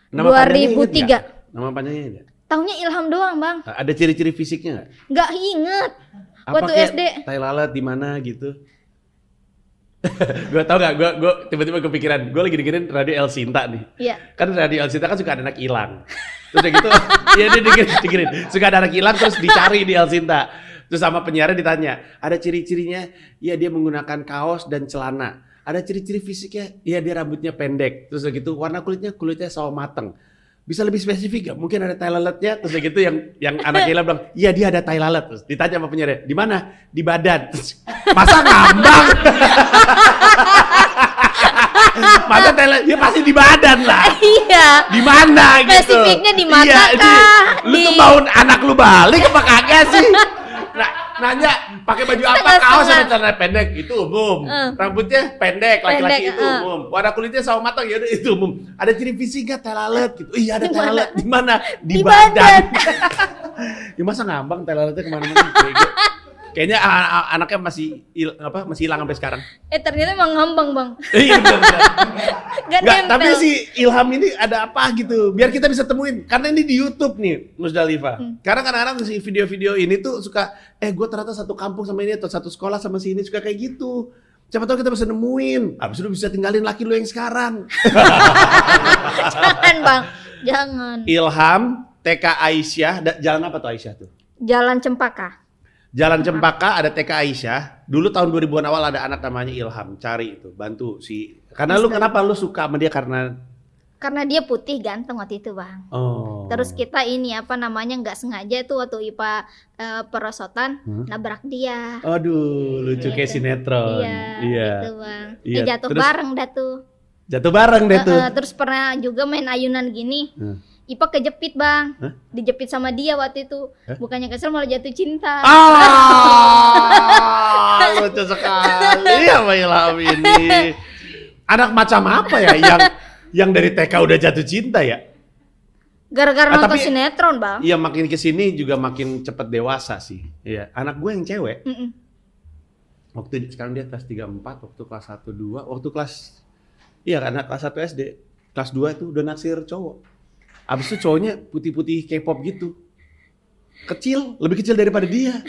panjangnya inget 2003. nggak? Nama panjangnya inget? tahunnya Ilham doang bang Ada ciri-ciri fisiknya nggak? nggak inget Apa waktu kayak SD Tai lalat di mana gitu? [LAUGHS] gua tau gak, gua, gua tiba-tiba kepikiran, gua lagi dengerin Radio El Sinta nih Iya. [LAUGHS] Kan Radio El Sinta kan suka ada anak hilang Terus udah gitu, [LAUGHS] iya dia dengerin, dengerin Suka ada anak hilang terus dicari di El Sinta Terus sama penyiarnya ditanya, ada ciri-cirinya? Iya dia menggunakan kaos dan celana Ada ciri-ciri fisiknya? Iya dia rambutnya pendek Terus udah gitu, warna kulitnya, kulitnya sawo mateng bisa lebih spesifik gak? Mungkin ada tai lalatnya terus udah gitu yang yang anak hilang bilang, "Iya, dia ada tai lalat." Terus ditanya sama penyiarnya, "Di mana?" "Di badan." Terus, Masa ngambang? [LAUGHS] Masa tai lalat? Ya pasti di badan lah. iya Di mana gitu? Spesifiknya di mata di- kah? Lu tuh Di- mau anak lu balik apa kagak sih? Nah, nanya pakai baju apa Setengah-setengah. kaos sama celana pendek itu umum Eh. rambutnya pendek laki-laki Pendek, itu eh. umum warna kulitnya sama matang ya udah itu umum ada ciri fisik gak telalet gitu iya ada Di mana? telalet di mana di, Di badan, [LAUGHS] ya masa ngambang telaletnya kemana-mana Bego. kayaknya a- a- anaknya masih il- apa masih hilang sampai sekarang [LAUGHS] eh ternyata emang ngambang bang [LAUGHS] iya benar Gak Nggak, Kan nempel. tapi si Ilham ini ada apa gitu biar kita bisa temuin karena ini di YouTube nih Musdalifa Hmm. karena kadang-kadang si video-video ini tuh suka eh gue ternyata satu kampung sama ini atau satu sekolah sama si ini suka kayak gitu siapa tahu kita bisa nemuin abis itu bisa tinggalin laki lu yang sekarang Jangan [LAUGHS] bang, jangan. Ilham TK Aisyah da- jalan apa tuh Aisyah tuh Jalan Cempaka. Jalan Cempaka ada TK Aisyah. Dulu tahun 2000-an awal ada anak namanya Ilham. Cari itu, bantu si. Karena lu kenapa lu suka sama dia karena karena dia putih ganteng waktu itu bang Oh. terus kita ini apa namanya nggak sengaja tuh waktu ipa eh, perosotan Hmm. nabrak dia Aduh, lucu kayak Gitu. sinetron. iya gitu bang Iya, Eh, jatuh terus- bareng dah tuh Jatuh [LAUGHS] bareng Gitu. deh tuh. Eh, eh, terus pernah juga main ayunan gini Hmm. ipa kejepit bang Hah? dijepit sama dia waktu itu Hah? bukannya kesel malah jatuh cinta Ah, [LAUGHS] lucu sekali ya Ilham ini. Anak macam apa ya yang yang dari TK udah jatuh cinta ya? gara-gara Ah, nonton tapi- sinetron bang Iya makin kesini juga makin cepet dewasa sih. Iya. Anak gue yang cewek Mm-mm. waktu sekarang dia kelas 3 4, waktu kelas 1 2, waktu kelas Iya, karena kelas 1 SD, kelas 2 itu udah naksir cowok. Abis itu cowoknya putih-putih K-pop gitu. Kecil, lebih kecil daripada dia.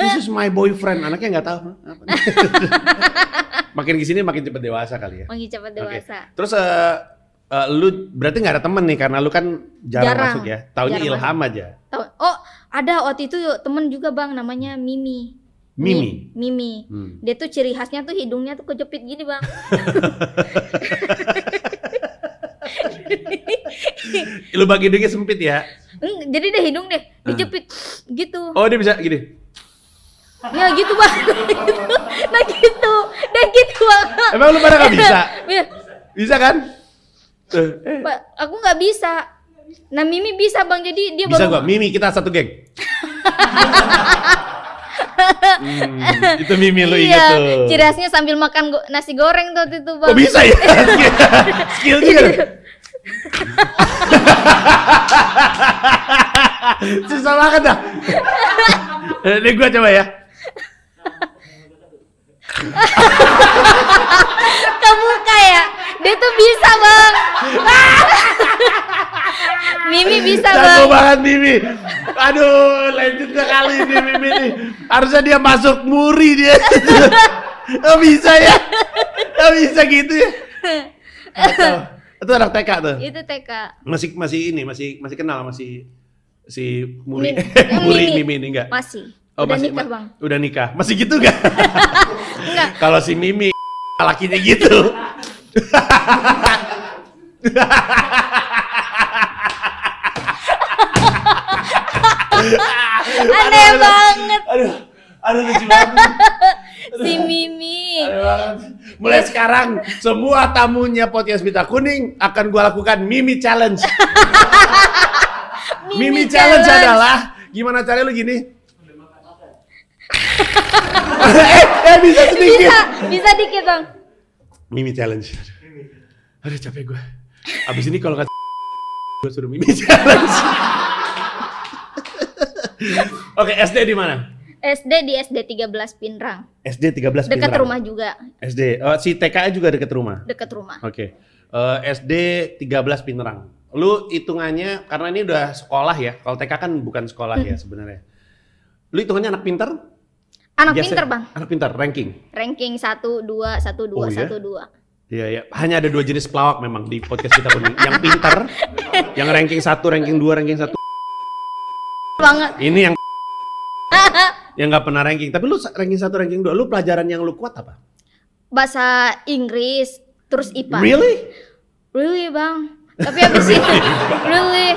This is my boyfriend, anaknya nggak tahu. Apa. makin kesini makin cepet dewasa kali ya. Makin cepat dewasa Terus eh, eh, lu berarti nggak ada temen nih karena lu kan jarang, Jarang. masuk ya. Taunya Jarang Ilham aja. Tahu- oh ada waktu itu temen juga bang namanya Mimi Mimi. Mi- Mimi Hmm. dia tuh ciri khasnya tuh hidungnya tuh kejepit gini bang Lu bagi hidungnya sempit ya. Hmm, jadi deh hidung deh Hmm. dijepit gitu Oh dia bisa gini. ya gitu bang [LAUGHS] nah gitu nah gitu bang Emang lu pada nggak bisa? Ya, Bisa kan? Eh, eh, Pak, aku nggak bisa nah Mimi bisa bang jadi dia bisa Iya, baru gua. Mimi kita satu [LAUGHS] geng. Hmm, itu Mimi lu inget iya, tuh. ciri khasnya sambil makan go- nasi goreng tuh waktu itu bang Kok bisa [LAUGHS] ya? Skill juga. Susah banget dah. Eh, Ini gua coba ya. kebuka ya dia tuh bisa [LAUGHS] bang Mimi bisa Jago bang banget Mimi. Aduh, lanjutnya kali ini Mimi nih. Harusnya dia masuk muri [LAUGHS] dia. Gak bisa ya? Gak bisa gitu ya? Atau, itu anak TK tuh. [LAUGHS] itu TK Masih masih ini, masih masih kenal masih si [LAUGHS] Muri. Mi- Muri Mimi. Mimi ini Iya. enggak? masih Oh, udah masih- nikah ma- bang Udah nikah. Masih gitu enggak? [LAUGHS] enggak Kalau si Mimi lakinya gitu. [LAUGHS] aneh banget Aduh, aduh lucu banget. si Mimi Aduh, banget. Mulai sekarang semua tamunya podcast Bita Kuning akan gua lakukan Mimi Challenge. Mimi, challenge, adalah gimana caranya lu gini? eh, eh [LAUGHS] bisa sedikit. bisa Iya, bisa dikit bang Mimi challenge. Aduh capek gue. Abis ini [LAUGHS] kalau nggak gue suruh Mimi [LAUGHS] challenge. Oke, SD di mana? SD di SD 13 Pinrang SD 13 dekat Pindrang. rumah juga SD. Oh, si TKA juga deket rumah. dekat rumah Oke. Eh, SD 13 Pinerang. Lu hitungannya karena ini udah sekolah ya. Kalau TK kan bukan sekolah ya sebenarnya. Lu hitungannya anak pinter? anak Biasa- pinter bang Anak pinter ranking. ranking 1, 2, 1, 2, Oh, iya? 1, 2 Iya ya, hanya ada dua jenis pelawak memang di podcast kita kuning. yang pinter, [LAUGHS] yang ranking 1, ranking 2, ranking 1. banget [LAUGHS] Ini yang yang nggak pernah ranking. Tapi lu ranking 1, ranking 2, lu pelajaran yang lu kuat apa? bahasa Inggris terus IPA Really? Really bang, tapi habis itu really,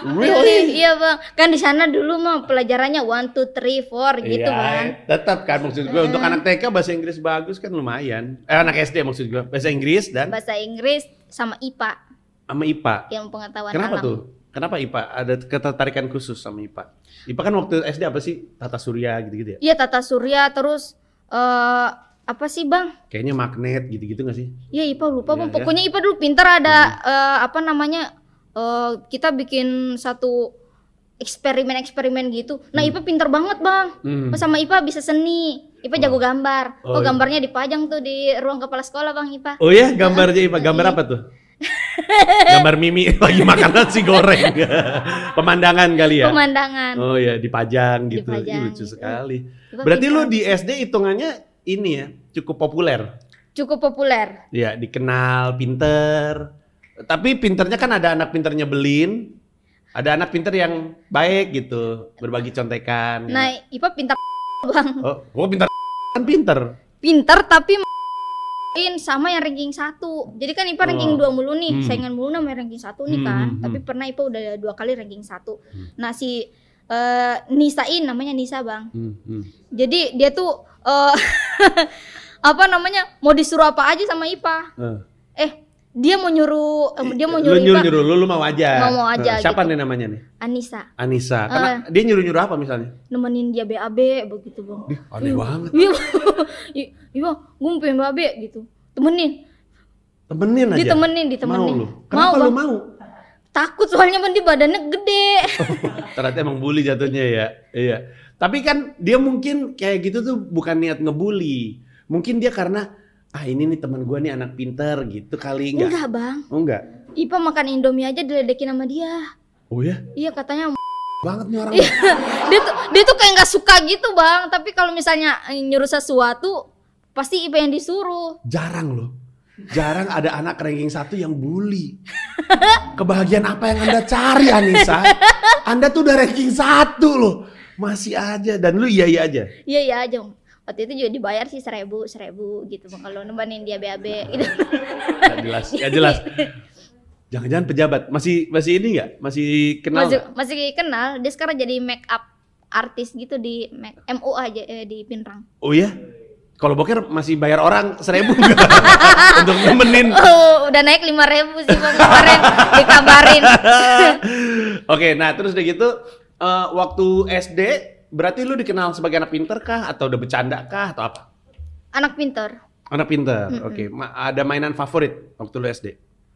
Really? iya bang. Kan di sana dulu mah pelajarannya one two three four gitu bang. Iya. Iya, tetap kan maksud gue untuk anak TK bahasa Inggris bagus kan lumayan. Eh anak SD maksud gue bahasa Inggris dan Bahasa Inggris sama IPA sama IPA. yang pengetahuan Kenapa alam. tuh? Kenapa IPA? Ada ketertarikan khusus sama IPA? IPA kan waktu SD apa sih? Tata surya gitu-gitu ya? Iya tata surya terus eh apa sih bang? Kayaknya magnet gitu-gitu gak sih? Iya IPA lupa bang. Iya, Hmm. ya. Pokoknya IPA dulu pinter ada eh, apa namanya? eh, kita bikin satu eksperimen-eksperimen gitu. Nah IPA pinter banget bang. Oh, Hmm. sama IPA bisa seni. IPA jago gambar. Oh, Oh, iya. gambarnya dipajang tuh di ruang kepala sekolah Bang IPA. Oh ya, gambarnya IPA. Gambar apa tuh? Gambar Mimi [LAUGHS] lagi makan nasi goreng. [LAUGHS] Pemandangan kali ya? Pemandangan. Oh ya, dipajang gitu. Ih, Dipajang lucu gitu. sekali. IPA Berarti pinter. lu di SD hitungannya ini ya, cukup populer. cukup populer. Ya, dikenal pinter. Tapi pinternya kan ada anak pinter nyebelin, ada anak pinter yang baik gitu, berbagi contekan. Ya. Nah, IPA pintar Bang. oh, gua pinter kan pinter. Pintar tapi in sama yang ranking satu jadi kan IPA ranking Oh. 2 mulu nih Hmm. saingan mulu sama yang ranking satu nih Hmm, kan hmm, tapi hmm. pernah IPA udah dua kali ranking satu Hmm. nah si eh, Nisa In namanya Nisa bang Hmm, hmm. jadi dia tuh eh, [LAUGHS] apa namanya mau disuruh apa aja sama IPA Eh. eh dia mau nyuruh eh, dia mau Lu nyuruh nyuruh IPA nyuruh lu, lu mau aja. Mau- mau aja Eh, Siapa gitu. nih namanya nih? Anissa Anissa. Karena dia nyuruh nyuruh apa misalnya? nemenin dia BAB begitu bang Aneh banget. iya Iya, iya bang gue mau pengen BAB gitu temenin Temenin aja. ditemenin Mau ditemenin lu. Kenapa bang lu [LAUGHS] mau? takut soalnya bang di badannya gede Oh, Ternyata emang bully jatuhnya ya. Iya. Tapi kan dia mungkin kayak gitu tuh bukan niat ngebully. Mungkin dia karena ah ini nih teman gua nih anak pinter gitu kali enggak. enggak bang Oh enggak. Ipa makan indomie aja diledekin sama dia Oh ya, iya katanya banget nih orang. Iya. dia tuh dia tuh kayak nggak suka gitu bang tapi kalau misalnya eh, nyuruh sesuatu pasti Ipa yang disuruh Jarang loh. Jarang ada anak ranking satu yang bully. Kebahagiaan apa yang Anda cari Anissa? Anda tuh udah ranking satu loh. Masih aja dan lu iya iya aja. iya iya aja Bang. waktu itu juga dibayar sih seribu seribu gitu bang kalau nemenin dia BAB gitu. Gak jelas, gak jelas. Jangan-jangan pejabat masih masih ini nggak? Masih kenal? masih nggak? masih kenal dia sekarang jadi make up artis gitu di make, MU aja eh, di [LAUGHS] Pinrang Oh iya? Kalau boker masih bayar orang seribu [LAUGHS] nggak? Untuk nemenin. [LAUGHS] oh udah naik lima ribu sih bang kemarin dikabarin Oke, nah terus udah gitu eh, waktu SD berarti lu dikenal sebagai anak pinter kah atau udah bercanda kah atau apa? anak pintar Anak pinter. Oke, Ma- ada mainan favorit waktu lu SD?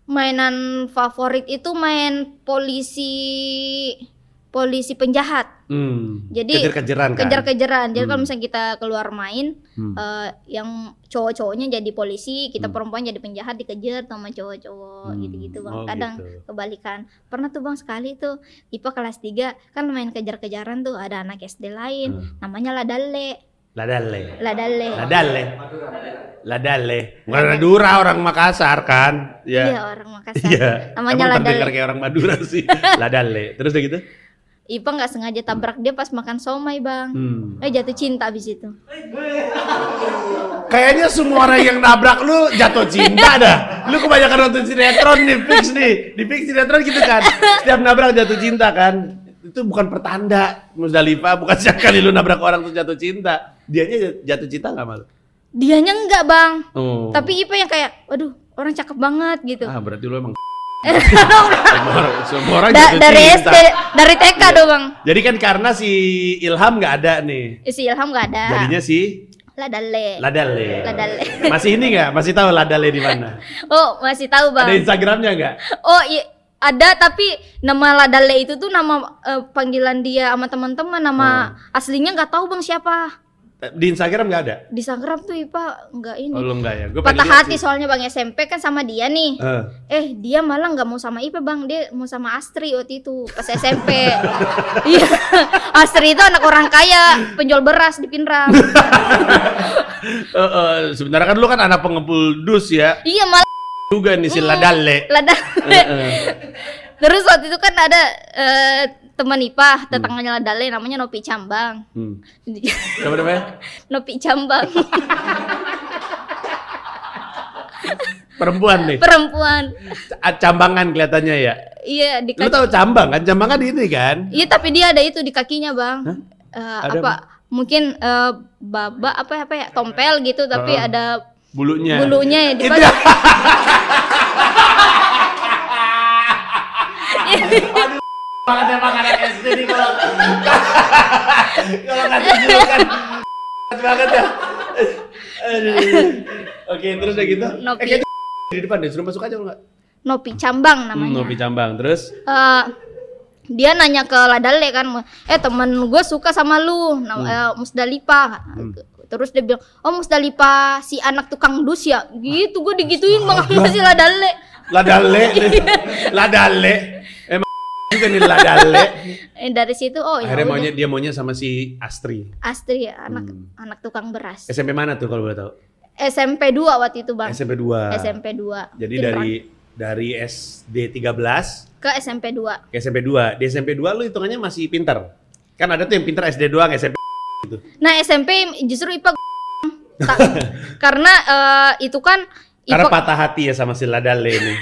mainan favorit itu main polisi polisi penjahat Hmm. Jadi, kejar-kejaran kan? kejar-kejaran jadi kalau Hmm. misalnya kita keluar main Hmm. eh, yang cowok-cowoknya jadi polisi kita perempuan jadi penjahat dikejar sama cowok-cowok Hmm. gitu-gitu bang Oh, kadang gitu. kebalikan pernah tuh bang sekali tuh IPA kelas 3 kan main kejar-kejaran tuh ada anak SD lain namanya Ladale Ladale. Ladale Hmm. Ladale. Ladale. Bukan Madura orang Makassar kan? iya Iya. orang Makassar Iya. namanya Emang Ladale terdengar kayak orang Madura [LAUGHS] sih. Ladale. Terus udah gitu? IPA nggak sengaja tabrak dia pas makan somai bang Hmm. eh jatuh cinta abis itu Kayaknya semua orang yang nabrak lu jatuh cinta dah. Lu kebanyakan nonton sinetron nih, fix nih. Di fix sinetron gitu kan. Setiap nabrak jatuh cinta kan. Itu bukan pertanda Musdalifah, bukan setiap kali lu nabrak orang terus jatuh cinta. Dianya jatuh cinta nggak malu? dianya enggak bang Oh. tapi IPA yang kayak waduh orang cakep banget gitu ah berarti lu emang [LAUGHS] semua orang, semua orang Da- jatuh dari cinta. SD dari TK dong bang Jadi kan karena si Ilham nggak ada nih. Eh, si Ilham nggak ada Jadinya si Ladale Ladale. Ladale. [LAUGHS] Masih ini nggak? Masih tahu Ladale di mana? oh masih tahu Ada bang Instagramnya nggak? oh iya ada tapi nama Ladale itu tuh nama eh, panggilan dia sama teman-teman nama Hmm. aslinya nggak tahu bang siapa Di Instagram nggak ada. di Instagram tuh IPA nggak ini Oh, lu nggak ya? Gue patah hati soalnya bang SMP kan sama dia nih eh dia malah nggak mau sama Ipe bang dia mau sama Astri waktu itu pas SMP [LAUGHS] iya Astri itu anak orang kaya penjual beras di Pinrang [LAUGHS] Eh, sebenarnya kan lu kan anak pengepul dus ya iya malah juga nih si Hmm. [LAUGHS] Eh, Ladale. lada Heeh. terus waktu itu kan ada eh, teman Ipa tetangganya Ladale namanya Nopi Cambang Hmm. Siapa namanya? Nopi [LAUGHS] Cambang Perempuan nih. perempuan C- Cambangan kelihatannya ya. iya di Lu kaki tahu cambang kan? Cambang kan ini kan. iya tapi dia ada itu di kakinya bang Hah? Eh, Ada apa mungkin eh, baba apa apa ya tompel gitu tapi Heeh. ada Bulunya. bulunya ya di Oh. Itu. bawah. Banget emang anak SD nih kalau [LAUGHS] kalau nggak kan dijulukan banget ya. Oke, terus udah gitu. Nopi. Eh, kayaknya di depan deh, suruh masuk aja lu nggak? [LAUGHS] Nopi Cambang namanya. Hmm, Nopi Cambang. Terus Eh, dia nanya ke Ladale kan, eh teman gue suka sama lu, Nam- Hmm. eh, Musdalifah. Terus dia bilang, oh Musdalifah si anak tukang dus ya, gitu gue digituin bang [LAUGHS] sama si Ladale. [LAUGHS] Ladale. Iya. Ladale. Emang [LAUGHS] juga nih Ladale. Eh, dari situ oh ya Akhirnya udah. maunya dia maunya sama si Astri. Astri ya, anak Hmm. anak tukang beras. SMP mana tuh kalau boleh tahu? SMP 2 waktu itu bang. SMP 2. SMP 2. Jadi dari dari SD 13 ke SMP 2. ke SMP 2. Di SMP 2 lu hitungannya masih pinter. Kan ada tuh yang pinter SD doang, SMP. [LAUGHS] Nah SMP justru IPA Ta- karena eh, itu kan Karena ipok- patah hati ya sama si Ladale [LAUGHS] ini.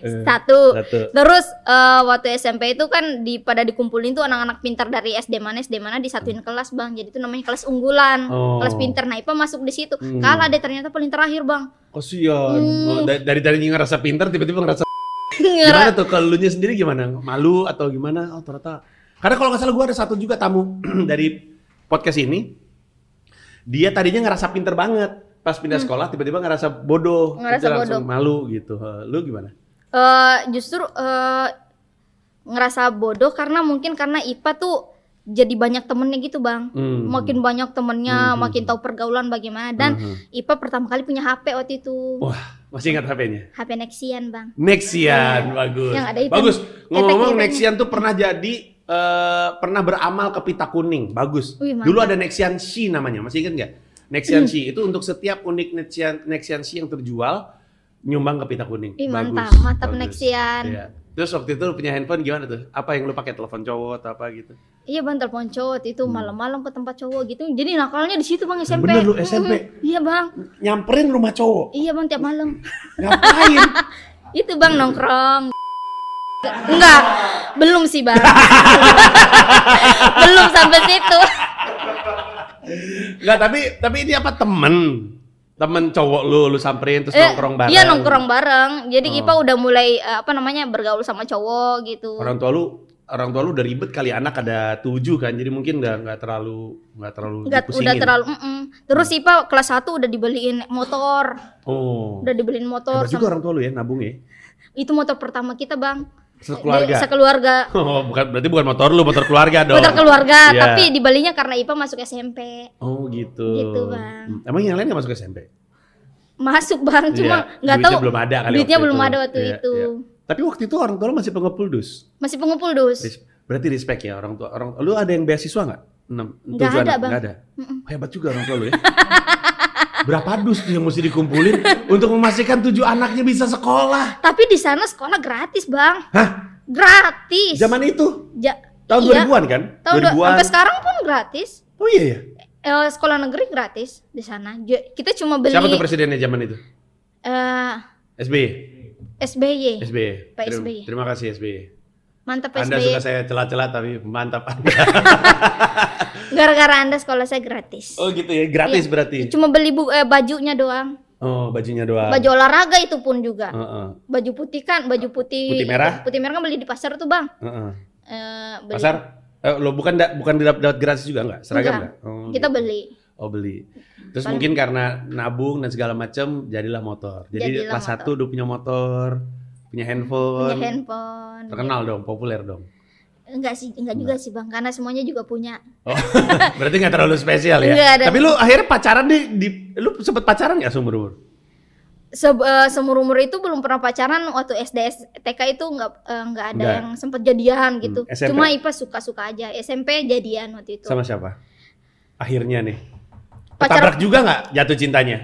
Eh, satu. Satu. Terus eh, waktu SMP itu kan di pada dikumpulin tuh anak-anak pintar dari SD mana SD mana disatuin kelas bang. Jadi itu namanya kelas unggulan, Hmm. Oh. kelas pintar. Nah IPA masuk di situ. Hmm. Kalah deh ternyata paling terakhir bang. Kasian. Hmm. Oh, da- dari tadi ngerasa pinter tiba-tiba ngerasa Ngera- gimana tuh kalau elunya sendiri gimana? Malu atau gimana? Oh, ternyata. Karena kalau nggak salah gua ada satu juga tamu [CLEARS THROAT] dari podcast ini. Dia tadinya ngerasa pinter banget. Pas pindah sekolah tiba-tiba ngerasa bodoh. Hmm. Ngerasa Itu langsung malu gitu. Eh, Lu gimana? eh justru eh, ngerasa bodoh karena mungkin karena IPA tuh jadi banyak temennya gitu bang Hmm. makin banyak temennya Hmm. makin tahu pergaulan bagaimana dan Mhm. IPA pertama kali punya HP waktu itu Wah, masih ingat HP-nya? HP Nexian bang Nexian, bagus. Iya. Yang ada hitam. bagus. Ngomong-ngomong Efek-efeknya. Nexian tuh pernah jadi eh, pernah beramal ke pita kuning. Bagus. Wih, mantap. Hmm. Dulu ada Nexian Shi namanya. Masih ingat nggak? Nexian Shi itu untuk setiap unik Nexian Nexian Shi yang terjual nyumbang ke pita kuning. Ih, bagus. mantap mantap bagus. Nexian Iya. Terus waktu itu lu punya handphone gimana tuh? Apa yang lu pakai telepon cowok atau apa gitu? iya bang telepon cowok waktu itu malam-malam ke tempat cowok gitu jadi nakalnya di situ bang SMP Hmm. Bener lu, Mm-mm. SMP? iya bang Nyamperin rumah cowok. iya bang tiap malam Ngapain? [LAUGHS] itu bang nongkrong enggak belum sih [LAUGHS] bang belum sampai situ Enggak, tapi tapi ini apa temen? Temen cowok lu lu samperin terus Eh, nongkrong bareng. iya nongkrong bareng jadi Oh. Ipa udah mulai eh, apa namanya bergaul sama cowok gitu orang tua lu orang tua lu udah ribet kali anak ada tujuh kan jadi mungkin nggak nggak terlalu nggak terlalu Nggak- udah dipusingin. terlalu mm-mm. terus Hmm. Ipa kelas 1 udah dibeliin motor oh udah dibeliin motor hebat juga sama, orang tua lu ya nabung ya itu motor pertama kita bang sekeluarga Jadi, sekeluarga [LAUGHS] oh bukan berarti bukan motor lu motor keluarga dong motor keluarga Iya. tapi dibelinya karena Ipa masuk SMP oh gitu Gitu, Bang. Hmm, emang yang lain nggak masuk SMP masuk bang cuma Iya, nggak duitnya tahu belum ada kali duitnya waktu belum itu. ada waktu Iya, itu iya. tapi waktu itu orang tua lu masih pengepul dus masih pengumpul dus Res- berarti respect ya orang tua orang lu ada yang beasiswa nggak enam Nggak tujuh ada, anak? Bang. Nggak ada Mm-mm. hebat juga orang tua lu ya [LAUGHS] berapa dus tuh yang mesti dikumpulin untuk memastikan tujuh anaknya bisa sekolah Tapi di sana sekolah gratis, Bang. Hah? Gratis. Zaman itu Ja- tahun iya. 2000-an kan? Tahun dua- 2000-an. sampai sekarang pun gratis. Oh iya ya. Eh, sekolah negeri gratis di sana. Ju- Kita cuma beli Siapa tuh presidennya zaman itu? eh, SBY. SBY. SBY. Pak Terima- SBY. Terima kasih SBY. Mantap Anda SBY. suka saya celah-celah tapi mantap [LAUGHS] Anda. Gara-gara Anda sekolah saya gratis. oh gitu Iya. ya, gratis berarti. Cuma beli bu eh, bajunya doang. Oh, bajunya doang. Baju olahraga itu pun juga. Heeh, Baju putih kan, baju putih. Putih merah? Putih merah kan beli di pasar tuh, Bang. heeh. Eh, beli. Pasar? Eh, lo bukan da- bukan didap- dapat gratis juga enggak? Seragam Enggak. enggak? Oh, Kita gitu. beli. Oh, beli. Terus Paling- mungkin karena nabung dan segala macam jadilah motor. Jadi Jadilah kelas motor. 1 udah punya motor, punya Punya handphone. handphone. Terkenal dong, populer [LAUGHS] dong. Enggak sih, enggak juga sih, Bang. Karena semuanya juga punya. Oh, [LAUGHS] berarti nggak terlalu spesial ya. Nggak ada. Tapi lu akhirnya pacaran di, di lu sempet pacaran nggak seumur umur? Se- eh, seumur umur itu belum pernah pacaran waktu SD S- TK itu nggak eh, nggak ada Nggak. yang sempat jadian gitu Hmm, SMP? cuma IPA suka suka aja SMP jadian waktu itu Sama siapa? Akhirnya nih. Pacaran- Ketabrak juga nggak jatuh [LAUGHS] cintanya?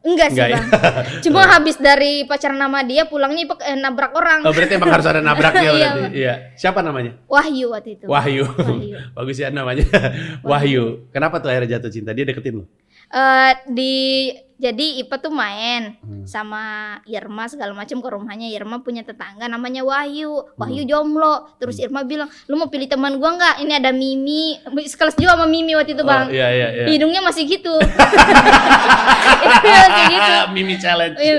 enggak sih Nggak ya? bang [LAUGHS] cuma habis dari pacaran nama dia pulangnya IPA eh, nabrak orang Oh, berarti emang harus ada nabraknya Iya, berarti. Bang. Iya. Siapa namanya? Wahyu waktu itu Wahyu. Wahyu. [LAUGHS] Bagus ya [LAUGHS] namanya. Wahyu. Kenapa tuh akhirnya jatuh cinta? Dia deketin lu. Eh, di jadi IPA tuh main Hmm. sama Irma segala macam ke rumahnya Irma punya tetangga namanya Hmm. Wahyu Wahyu jomblo terus Irma bilang lu mau pilih teman gua nggak ini ada Mimi sekelas juga sama Mimi waktu itu bang Oh, iya iya iya. hidungnya masih gitu hidungnya [LAUGHS] masih gitu Mimi challenge. Iya,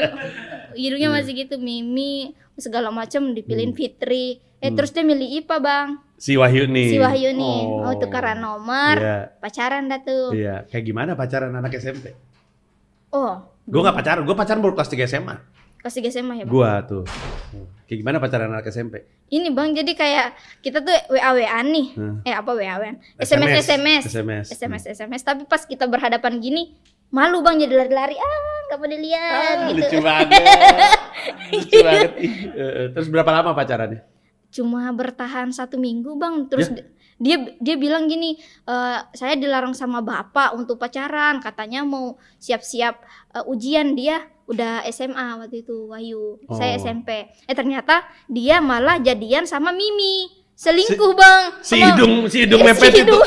hidungnya masih gitu Mimi segala macam Hmm. dipilihin Fitri eh terus dia milih IPA bang Si Wahyu nih. si Wahyu nih Oh. mau tukeran nomor Iya. pacaran dah tuh Iya, kayak gimana pacaran anak SMP? oh Gue gak pacaran, gue pacaran baru kelas 3 SMA. kelas 3 SMA ya bang Gua tuh. Kayak gimana pacaran anak SMP? ini bang jadi kayak kita tuh WA WA nih Hmm. eh apa WA WA SMS SMS SMS. SMS SMS tapi pas kita berhadapan gini malu bang jadi lari-lari ah nggak boleh lihat Ah, gitu Lucu [LAUGHS] banget. lucu banget. Ih, eh, eh, Terus berapa lama pacarannya? cuma bertahan satu minggu bang terus Ya. di- dia dia bilang gini e, saya dilarang sama bapak untuk pacaran katanya mau siap-siap e, ujian dia udah SMA waktu itu Wahyu saya Oh. SMP eh ternyata dia malah jadian sama Mimi selingkuh bang Si Sama- hidung, si hidung Iya, si mepet itu. hidung.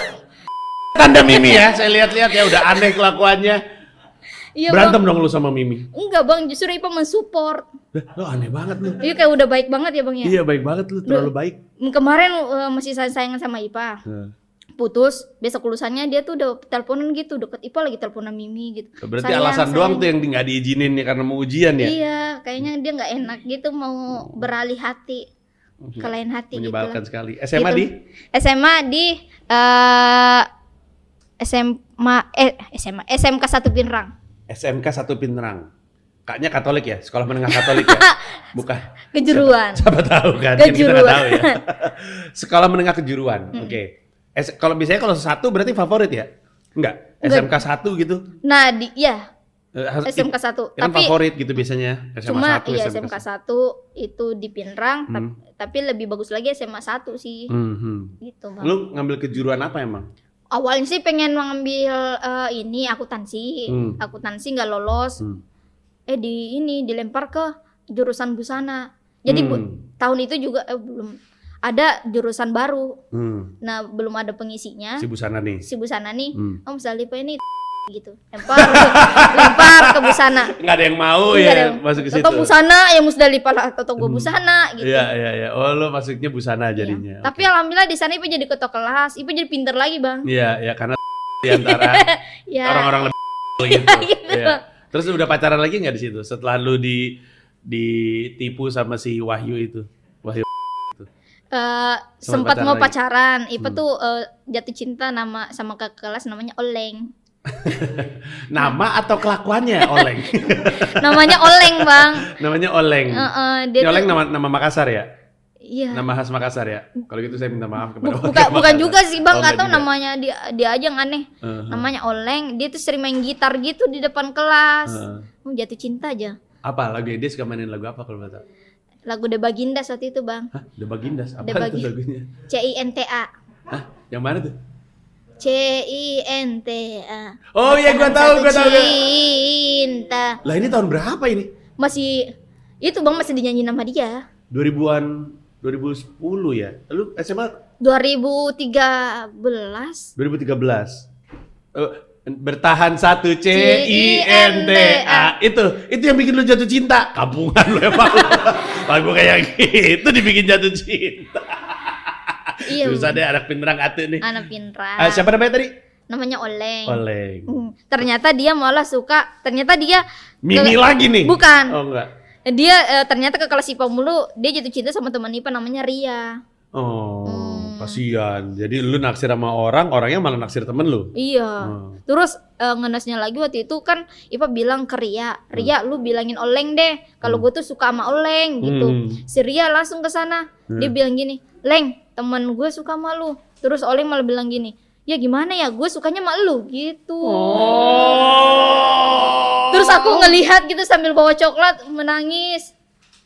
Tanda Mimi ya, saya lihat-lihat ya udah aneh kelakuannya. Iya, Berantem dong lu sama Mimi. Enggak bang, justru Ipa mensupport. Lah, Lu aneh banget lu. Iya kayak udah baik banget ya bang ya. Iya baik banget lu, terlalu baik. Kemarin eh, masih sayang sayangan sama Ipa. Nah, Putus, besok lulusannya dia tuh udah teleponan gitu, deket Ipa lagi teleponan Mimi gitu. Berarti Sayang, alasan sayang. doang tuh yang nggak diizinin ya karena mau ujian ya. Oh. Iya, kayaknya dia nggak enak gitu mau beralih hati Hmm. ke lain hati gitu Iya, Menyebalkan lah. sekali. SMA Gitu. di SMA di eh SMA eh SMA SMK 1 Pinrang. SMK Satu Pinterang. Kaknya Katolik ya, sekolah menengah Katolik [LAUGHS] ya. Bukan. [LAUGHS] Kejuruan. Siapa tahu kan? Kan Kita nggak Kejuruan. tahu ya. [LAUGHS] sekolah menengah kejuruan. Oke. S- Kalau biasanya kalau satu berarti favorit ya? Enggak. Enggak. SMK satu gitu. Nah, di ya Eh, harus- SMK 1. Ini Tapi favorit gitu biasanya. SMA cuma satu, iya SMK SMK satu. 1 itu di Pinrang, tap- Hmm. tapi lebih bagus lagi SMA 1 sih. Mhm. Gitu, Bang. Lu ngambil kejuruan apa emang? Awalnya sih pengen mengambil eh, ini akuntansi. Hmm. Akuntansi nggak lolos. Hmm. Eh di ini dilempar ke jurusan busana. Jadi bu- Hmm. tahun itu juga eh, belum ada jurusan baru. Hmm. Nah, belum ada pengisinya. Si Busana nih. Si busana nih, Hmm. Om Salipa ini [LAUGHS] gitu. Lempar [LAUGHS] lempar ke busana. Nggak ada yang mau Nggak ya ada yang- masuk ke situ. Toto busana ya Musdalifah lah, Toto gue Hmm. busana gitu. Iya, iya, iya. Oh, lu masuknya busana Iya. jadinya. Tapi alhamdulillah di sana Ibu jadi ketua kelas, Ibu jadi pinter lagi bang. Iya, iya [LAUGHS] karena di antara Ya. orang-orang lebih gitu. gitu. Iya. Terus udah pacaran lagi nggak di situ setelah lu di ditipu sama si Wahyu itu? Eh, Wahyu. pacaran sempat mau lagi. pacaran, Ipa Hmm. tuh eh, jatuh cinta nama sama kakak kelas namanya Oleng. Nah. Nama atau kelakuannya [LAUGHS] Oleng? Namanya Oleng [LAUGHS] bang. Namanya Oleng. Eh, eh, dia Ini tuh- Oleng nama nama Makassar ya? Iya. Nama khas Makassar ya? Kalau gitu saya minta maaf kepada Bu- warga bukan bukan Makassar. juga sih bang, Oh, nggak nggak tahu juga. namanya dia dia aja yang aneh. Heeh. Namanya Oleng, dia tuh sering main gitar gitu di depan kelas. Heeh. Oh, jatuh cinta aja. Apa lagu dia suka mainin lagu apa kalau kata? Lagu The Baginda saat itu bang. Hah, The Bagindas. Apa The itu Bagi- lagunya? C I N T A. Hah, yang mana tuh? C I N T A. Oh iya gua Tentang satu tahu, gua tahu. gua- Cinta. Lah ini tahun berapa ini? Masih itu Bang masih dinyanyi nama dia. 2000-an 2010 ya. Lu SMA 2013. 2013. Eh, bertahan satu C I N T A C-I-N-T-A. itu itu yang bikin lu jatuh cinta kampungan lu [LAUGHS] emang lagu kayak gitu dibikin jatuh cinta Iya. terus Bang. ada anak pinterang atu nih Anak pintar. Ah, siapa namanya tadi Namanya Oleng. Oleng Hmm, Ternyata dia malah suka. Ternyata dia Mimi Ke- lagi nih bukan. oh enggak Dia eh, ternyata ke kelas IPA mulu, dia jatuh cinta sama teman IPA namanya Ria. oh Hmm. kasihan jadi lu naksir sama orang orangnya malah naksir temen lu Iya. Oh. Terus eh, ngenasnya lagi waktu itu kan Ipa bilang ke Ria, Ria lu bilangin Oleng deh, kalau gue tuh suka sama Oleng gitu. Hmm. Si Ria langsung ke sana. Dia bilang gini, "Leng, temen gue suka sama lu." Terus Oleng malah bilang gini, "Ya gimana ya, gue sukanya sama lu." gitu. Oh. Terus aku ngelihat gitu sambil bawa coklat menangis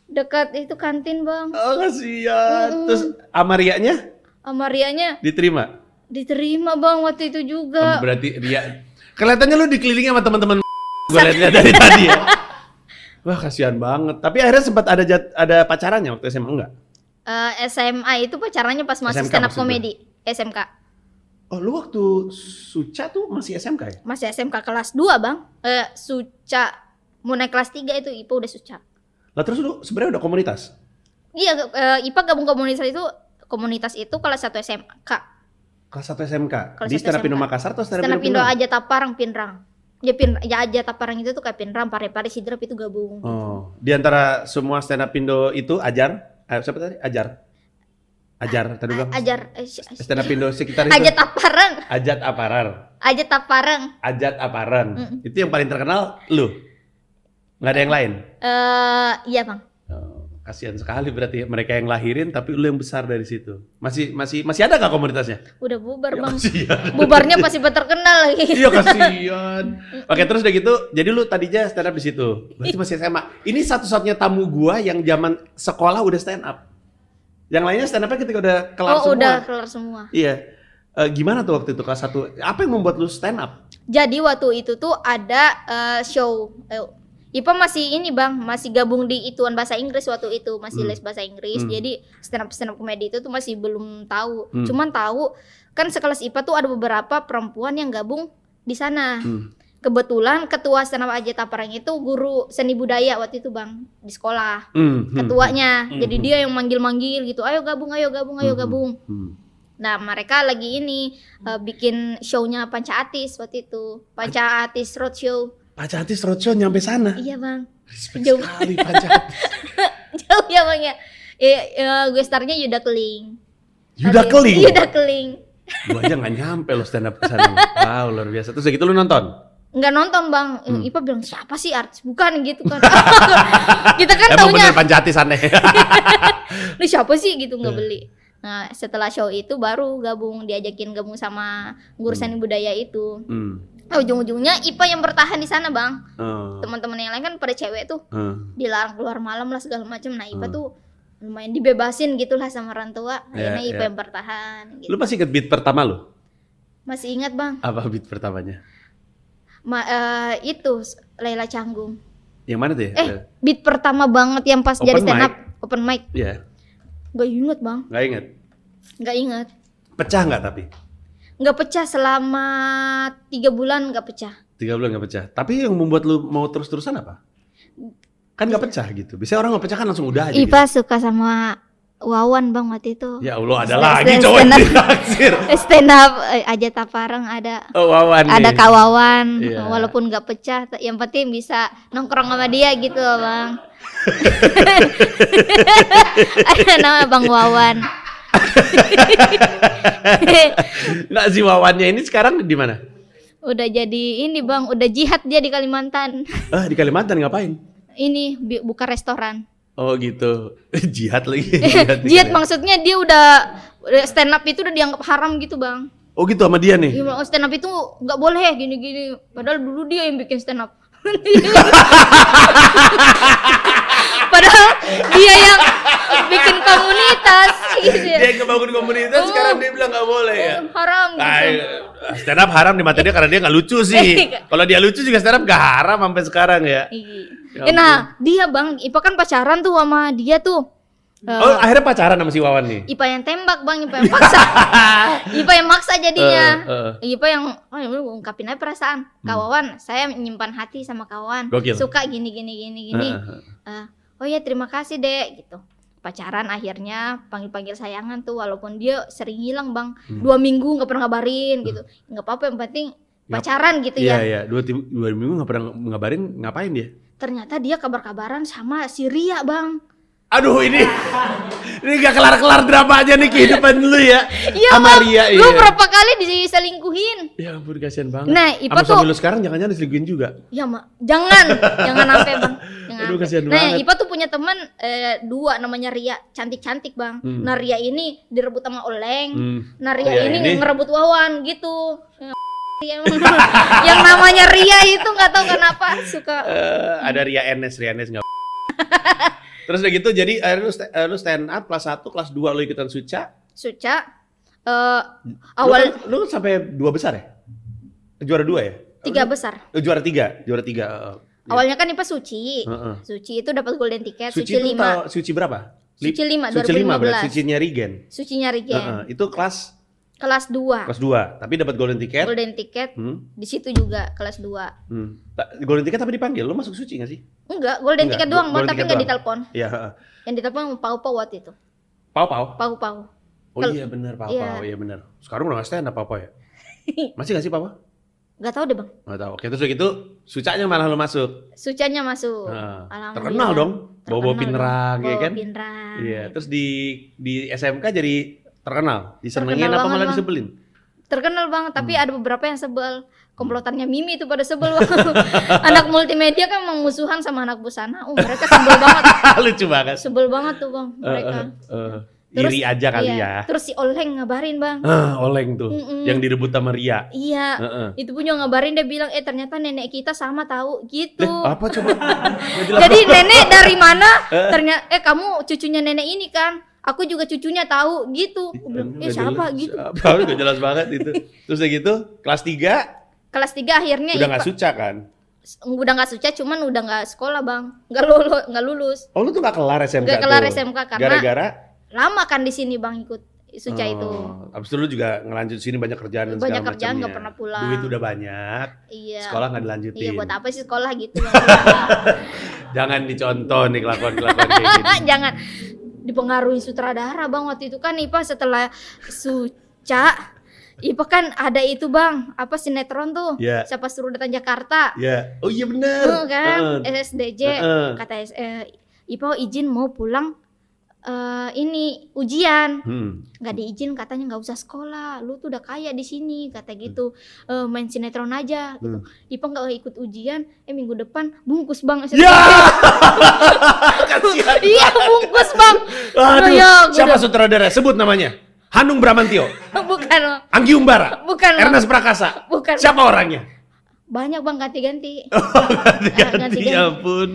dekat itu kantin, Bang. oh kasihan terus amarianya Sama Rianya diterima diterima, Bang, waktu itu Em, juga. Berarti dia kelihatannya lu dikelilingi sama teman-teman [LAUGHS] gue lihat dari tadi ya. Wah kasihan banget. Tapi akhirnya sempat ada jat- ada pacarannya waktu SMA enggak? Eh, SMA itu pacarannya pas masih SMK stand up maksud gue. comedy, SMK. Oh lu waktu Suca tuh masih SMK ya? Masih SMK kelas 2, Bang. Eh, Suca mau naik kelas 3 itu Ipa udah Suca. Lah terus lu sebenarnya udah komunitas? Iya, eh, IPA gabung komunitas itu komunitas itu kelas 1 SMK. Kelas 1 SMK? Kelas satu Di Stand Up Indo SMK. Makassar atau Stand Up Stand up Indo Indo Pinang? aja Taparang Pinrang. Ya pin ya aja Taparang itu tuh kayak Pinrang, Parepare, Sidrap itu gabung. Oh, di antara semua Stand Up Indo itu Ajar? Eh, siapa tadi? Ajar? Ajar, A- tadi bilang. Ajar eh, si- si- Stand Up Indo sekitar itu. aja Taparang, Ajat Aparar. aja Taparang. Ajat Aparan. Mm-mm. Itu yang paling terkenal lu? Nggak ada yang lain? Eh iya Bang. Oh, kasihan sekali berarti ya. mereka yang lahirin tapi lu yang besar dari situ. Masih masih masih ada nggak [LAUGHS] komunitasnya? Udah bubar Ya, Bang. [LAUGHS] kasihan. Bubarnya [LAUGHS] pasti terkenal lagi. Iya kasihan. Oke terus udah gitu, jadi lu tadinya stand up di situ. Berarti masih SMA. Ini satu-satunya tamu gua yang zaman sekolah udah stand up. Yang lainnya stand upnya ketika udah kelar Oh semua. udah kelar semua. Iya. Eh, gimana tuh waktu itu kelas satu? Apa yang membuat lu stand up? Jadi waktu itu tuh ada eh, show. Eh, Ipa masih ini bang, masih gabung di ituan bahasa Inggris waktu itu masih Hmm. les bahasa Inggris. Hmm. Jadi stand up stand up comedy itu tuh masih belum tahu. Hmm. Cuman tahu kan sekelas Ipa tuh ada beberapa perempuan yang gabung di sana. Hmm. kebetulan ketua senam aja Taparang itu guru seni budaya waktu itu bang di sekolah Hmm, hmm. ketuanya Hmm. jadi dia yang manggil-manggil gitu ayo gabung ayo gabung ayo Hmm. gabung Hmm. nah mereka lagi ini eh, bikin shownya Panca Atis waktu itu Panca Atis Roadshow Pak Catis Roadshow nyampe sana. iya bang [LAUGHS] Respect Jauh. sekali Pak Catis. jauh ya bang ya eh, eh, gue startnya Yuda Keling Tapi- Yuda Keling. [LAUGHS] Yuda Keling Gua aja nggak nyampe lo stand up kesana. Wow luar biasa. Terus udah gitu lu nonton? nggak nonton bang Hmm. Ipa bilang siapa sih artis bukan gitu [LAUGHS] kan kita kan Emang taunya bener Pak Catis aneh. [LAUGHS] lu siapa sih gitu Iya. nggak beli nah setelah show itu baru gabung diajakin gabung sama guru Hmm. seni budaya itu hmm. nah, ujung-ujungnya Ipa yang bertahan di sana bang Oh. teman-teman yang lain kan pada cewek tuh Oh. dilarang keluar malam lah segala macam nah Ipa Hmm. tuh lumayan dibebasin gitulah sama orang tua Ya, akhirnya Ipa ya. yang bertahan gitu. Lu masih inget beat pertama lu? masih ingat bang Apa beat pertamanya? Ma- eh, itu Laila Canggung Yang mana tuh ya? Eh. beat pertama banget yang pas Open jadi stand mic. up open mic Iya, Gak inget bang, nggak inget. gak inget Pecah nggak tapi? Gak pecah selama tiga bulan gak pecah Tiga bulan nggak pecah. Tapi yang membuat lu mau terus-terusan apa? Kan nggak pecah gitu. Biasanya orang nggak pecah kan langsung udah aja. gitu. Ipa suka sama Wawan bang waktu itu Ya Allah ada Stand- lagi stand- cowok yang stand up. [LAUGHS] ditaksir. Stand up eh, aja taparang ada Oh, Wawan ada nih. kawawan Iya. walaupun gak pecah t- yang penting bisa nongkrong sama dia gitu loh [LAUGHS] bang ada nama bang wawan [LAUGHS] Nggak si Wawannya ini sekarang di mana? udah jadi ini bang udah jihad dia di Kalimantan Ah di Kalimantan ngapain? ini bi- buka restoran Oh gitu. [LAUGHS] Jihad lagi. Jihad, di [LAUGHS] jihad Kalimantan. maksudnya dia udah udah stand up itu udah dianggap haram gitu bang Oh gitu sama dia dia nih. bilang, "Oh, stand up itu nggak boleh gini gini padahal dulu dia yang bikin stand up [LAUGHS] padahal dia yang bikin komunitas gitu ya Dia yang ngebangun komunitas Oh. sekarang dia bilang nggak boleh ya. Oh, haram Ah, gitu stand up haram di mata dia karena dia nggak lucu [LAUGHS] sih. Kalau dia lucu juga stand up nggak haram sampai sekarang ya. Iya. Ya Eh, nah dia bang Ipa kan pacaran tuh sama dia tuh Eh, Oh akhirnya pacaran sama si Wawan nih. Ipa yang tembak bang, Ipa yang [LAUGHS] maksa, Ipa yang maksa jadinya, Eh, Hmm. Ipa yang oh, ya udah, gua ungkapin aja perasaan, kawan, saya menyimpan hati sama kawan, Gokil. suka gini gini gini gini, Heeh. Eh, oh ya terima kasih dek gitu, pacaran akhirnya panggil panggil sayangan tuh, walaupun dia sering hilang bang, Hmm. dua minggu nggak pernah ngabarin gitu, nggak apa-apa yang penting pacaran gitu Iya ya, iya dua, tim- dua minggu nggak pernah ngabarin ngapain dia. ternyata dia kabar-kabaran sama si Ria bang, Aduh [LAUGHS] ini ini gak kelar-kelar drama aja nih kehidupan lu ya. iya Sama bang, Ria lu iya. berapa kali diselingkuhin? Ya ampun kasihan banget. Nah, Ipa Sama tuh suami lu sekarang jangan-jangan diselingkuhin juga. Ya mak, [LAUGHS] jangan, jangan sampai bang. Jangan Aduh, sampai. kasihan nah, banget. Ipa tuh punya teman eh, dua namanya Ria, cantik-cantik bang. Hmm. Nah Ria ini direbut sama Oleng, Hmm. nah Ria Ria ini, ini- ngerebut Wawan gitu. [LAUGHS] Ya, emang. yang namanya Ria itu nggak tahu kenapa suka. Eh, ada Ria Enes, Ria Enes [LAUGHS] nggak. Terus udah gitu jadi eh, lu, sta- eh, lu stand up kelas 1, kelas 2 lu ikutan Suca. Suca eh, Lu awal kan- lu kan sampai dua besar ya? Juara dua ya? tiga besar. Eh, Juara tiga, juara tiga. eh, Iya. Awalnya kan Ipa Suci, Heeh. Suci itu dapat golden ticket, Suci, Suci itu lima, tahu- Suci berapa? Li- Suci lima, Suci lima 2015. berarti Sucinya Regen. Sucinya Rigen, Heeh, Eh, itu kelas kelas dua, kelas 2, tapi dapat golden Iya. ticket. golden ticket Hmm, di situ juga kelas dua. hmm. Ta- Golden ticket tapi dipanggil, lu masuk Suci nggak sih? Enggak, golden Enggak, ticket doang, Bang, go- golden tapi ticket enggak doang. ditelepon. Iya, heeh. Yang ditelepon pau-pau waktu itu. Pau-pau. Pau-pau. Oh Kalau- iya benar Pau-pau, Iya. iya benar. Sekarang udah nggak stand up Pau-pau [LAUGHS] ya? Masih nggak sih Pau-pau? Enggak tahu deh, Bang. Nggak tahu. Oke, terus udah gitu Sucanya malah lu masuk. Sucanya masuk. Heeh. Oh. Alhamdulillah. terkenal dong, bawa-bawa Terkenal pinerang dong. ya Bawa kan? Pinrang. Iya, terus di di SMK jadi terkenal, disenengin Terkenal apa banget, malah Bang. disebelin? [LAUGHS] Terkenal, Bang, tapi Hmm. ada beberapa yang sebel. Komplotannya Mimi itu pada [LAUGHS] sebel. Bang. anak multimedia kan emang musuhan sama anak busana. Oh, mereka sebel banget. Lucu banget. Sebel banget tuh, Bang, Eh, mereka. eh, eh. Terus- iri aja kali Iya. ya. Terus si Oleng ngabarin, Bang. Ah, oleng tuh Mm-mm. yang direbut sama Ria. Iya. Heeh. Itu punya ngabarin dia bilang, "Eh, ternyata nenek kita sama tahu." Gitu. Deh, Eh, apa coba? Nggak jelas. Jadi nenek dari mana? Ternyata eh kamu cucunya nenek ini kan? Aku juga cucunya tahu gitu. Aku bilang, Nggak eh siapa jelas. gitu. Siapa? Nggak jelas banget itu. Terus udah gitu, kelas 3 Kelas 3 akhirnya udah Ipa- nggak suca kan? udah nggak suca cuman udah nggak sekolah, Bang. Nggak lulus, nggak lulus. Oh lu tuh nggak kelar SMK Nggak kelar tuh. SMK karena- Gara-gara Lama kan di sini Bang ikut Suca itu. Oh, Abis itu lu juga ngelanjut sini banyak kerjaan dan Banyak segala kerjaan nggak macamnya. pernah pulang. Duit udah banyak, Iya. sekolah nggak dilanjutin. Iya buat apa sih sekolah gitu? Jangan dicontoh nih kelakuan-kelakuan kayak [LAUGHS] gini. [LAUGHS] Jangan dipengaruhi sutradara bang waktu itu kan Ipa setelah Suca Ipa kan ada itu bang apa sinetron tuh Iya. siapa suruh datang Jakarta Ya. Oh iya benar. tuh kan Heeh. SSDJ Heeh. kata S- eh, Ipa izin mau pulang eh, ini ujian Hmm. nggak diizin katanya nggak usah sekolah lu tuh udah kaya di sini kata Hmm. gitu "Eh, main sinetron aja gitu Ipa nggak ikut ujian eh minggu depan bungkus bang SSDJ [LAUGHS] [LAUGHS] Ya! Kasihan. iya bungkus bang [LAUGHS] Aduh, Ya, gua siapa udah- sutradara? Sebut namanya. Hanung Bramantio, bukan Bang. Anggi Umbara, bukan Bang. Ernest Prakasa. bukan Bang. Siapa orangnya? banyak bang ganti-ganti [LAUGHS] Oh, Ganti-ganti, ganti-ganti. ya ampun.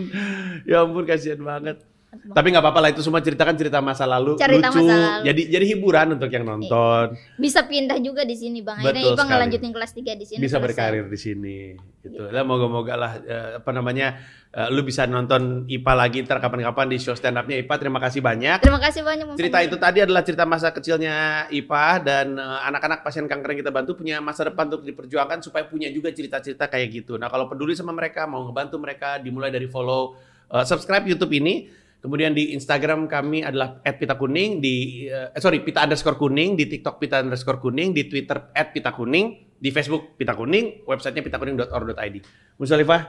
Ya ampun, kasihan banget. Tapi nggak apa-apa lah itu semua ceritakan cerita masa lalu Cerita lucu. masa lalu. Jadi jadi hiburan untuk yang nonton bisa pindah juga di sini bang akhirnya Betul Ipa sekali. ngelanjutin kelas 3 di sini bisa selesai. Iya. berkarir di sini. Gitu. Lah moga-moga lah eh, apa namanya eh, lu bisa nonton IPA lagi ntar kapan-kapan di show stand up-nya IPA. Terima kasih banyak. terima kasih banyak Bang Cerita Fandi. itu tadi adalah cerita masa kecilnya IPA dan eh, anak-anak pasien kanker yang kita bantu punya masa depan untuk diperjuangkan supaya punya juga cerita-cerita kayak gitu. Nah, kalau peduli sama mereka, mau ngebantu mereka dimulai dari follow eh, subscribe YouTube ini. Kemudian di Instagram kami adalah @pitakuning di eh, sorry pita underscore kuning di TikTok pita underscore kuning di Twitter @pitakuning di Facebook pita kuning websitenya pitakuning.org.id. Musalifah,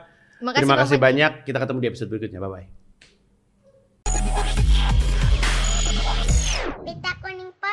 terima Bang kasih Fandi. banyak. Kita ketemu di episode berikutnya. Bye bye. Pita Kuning Podcast.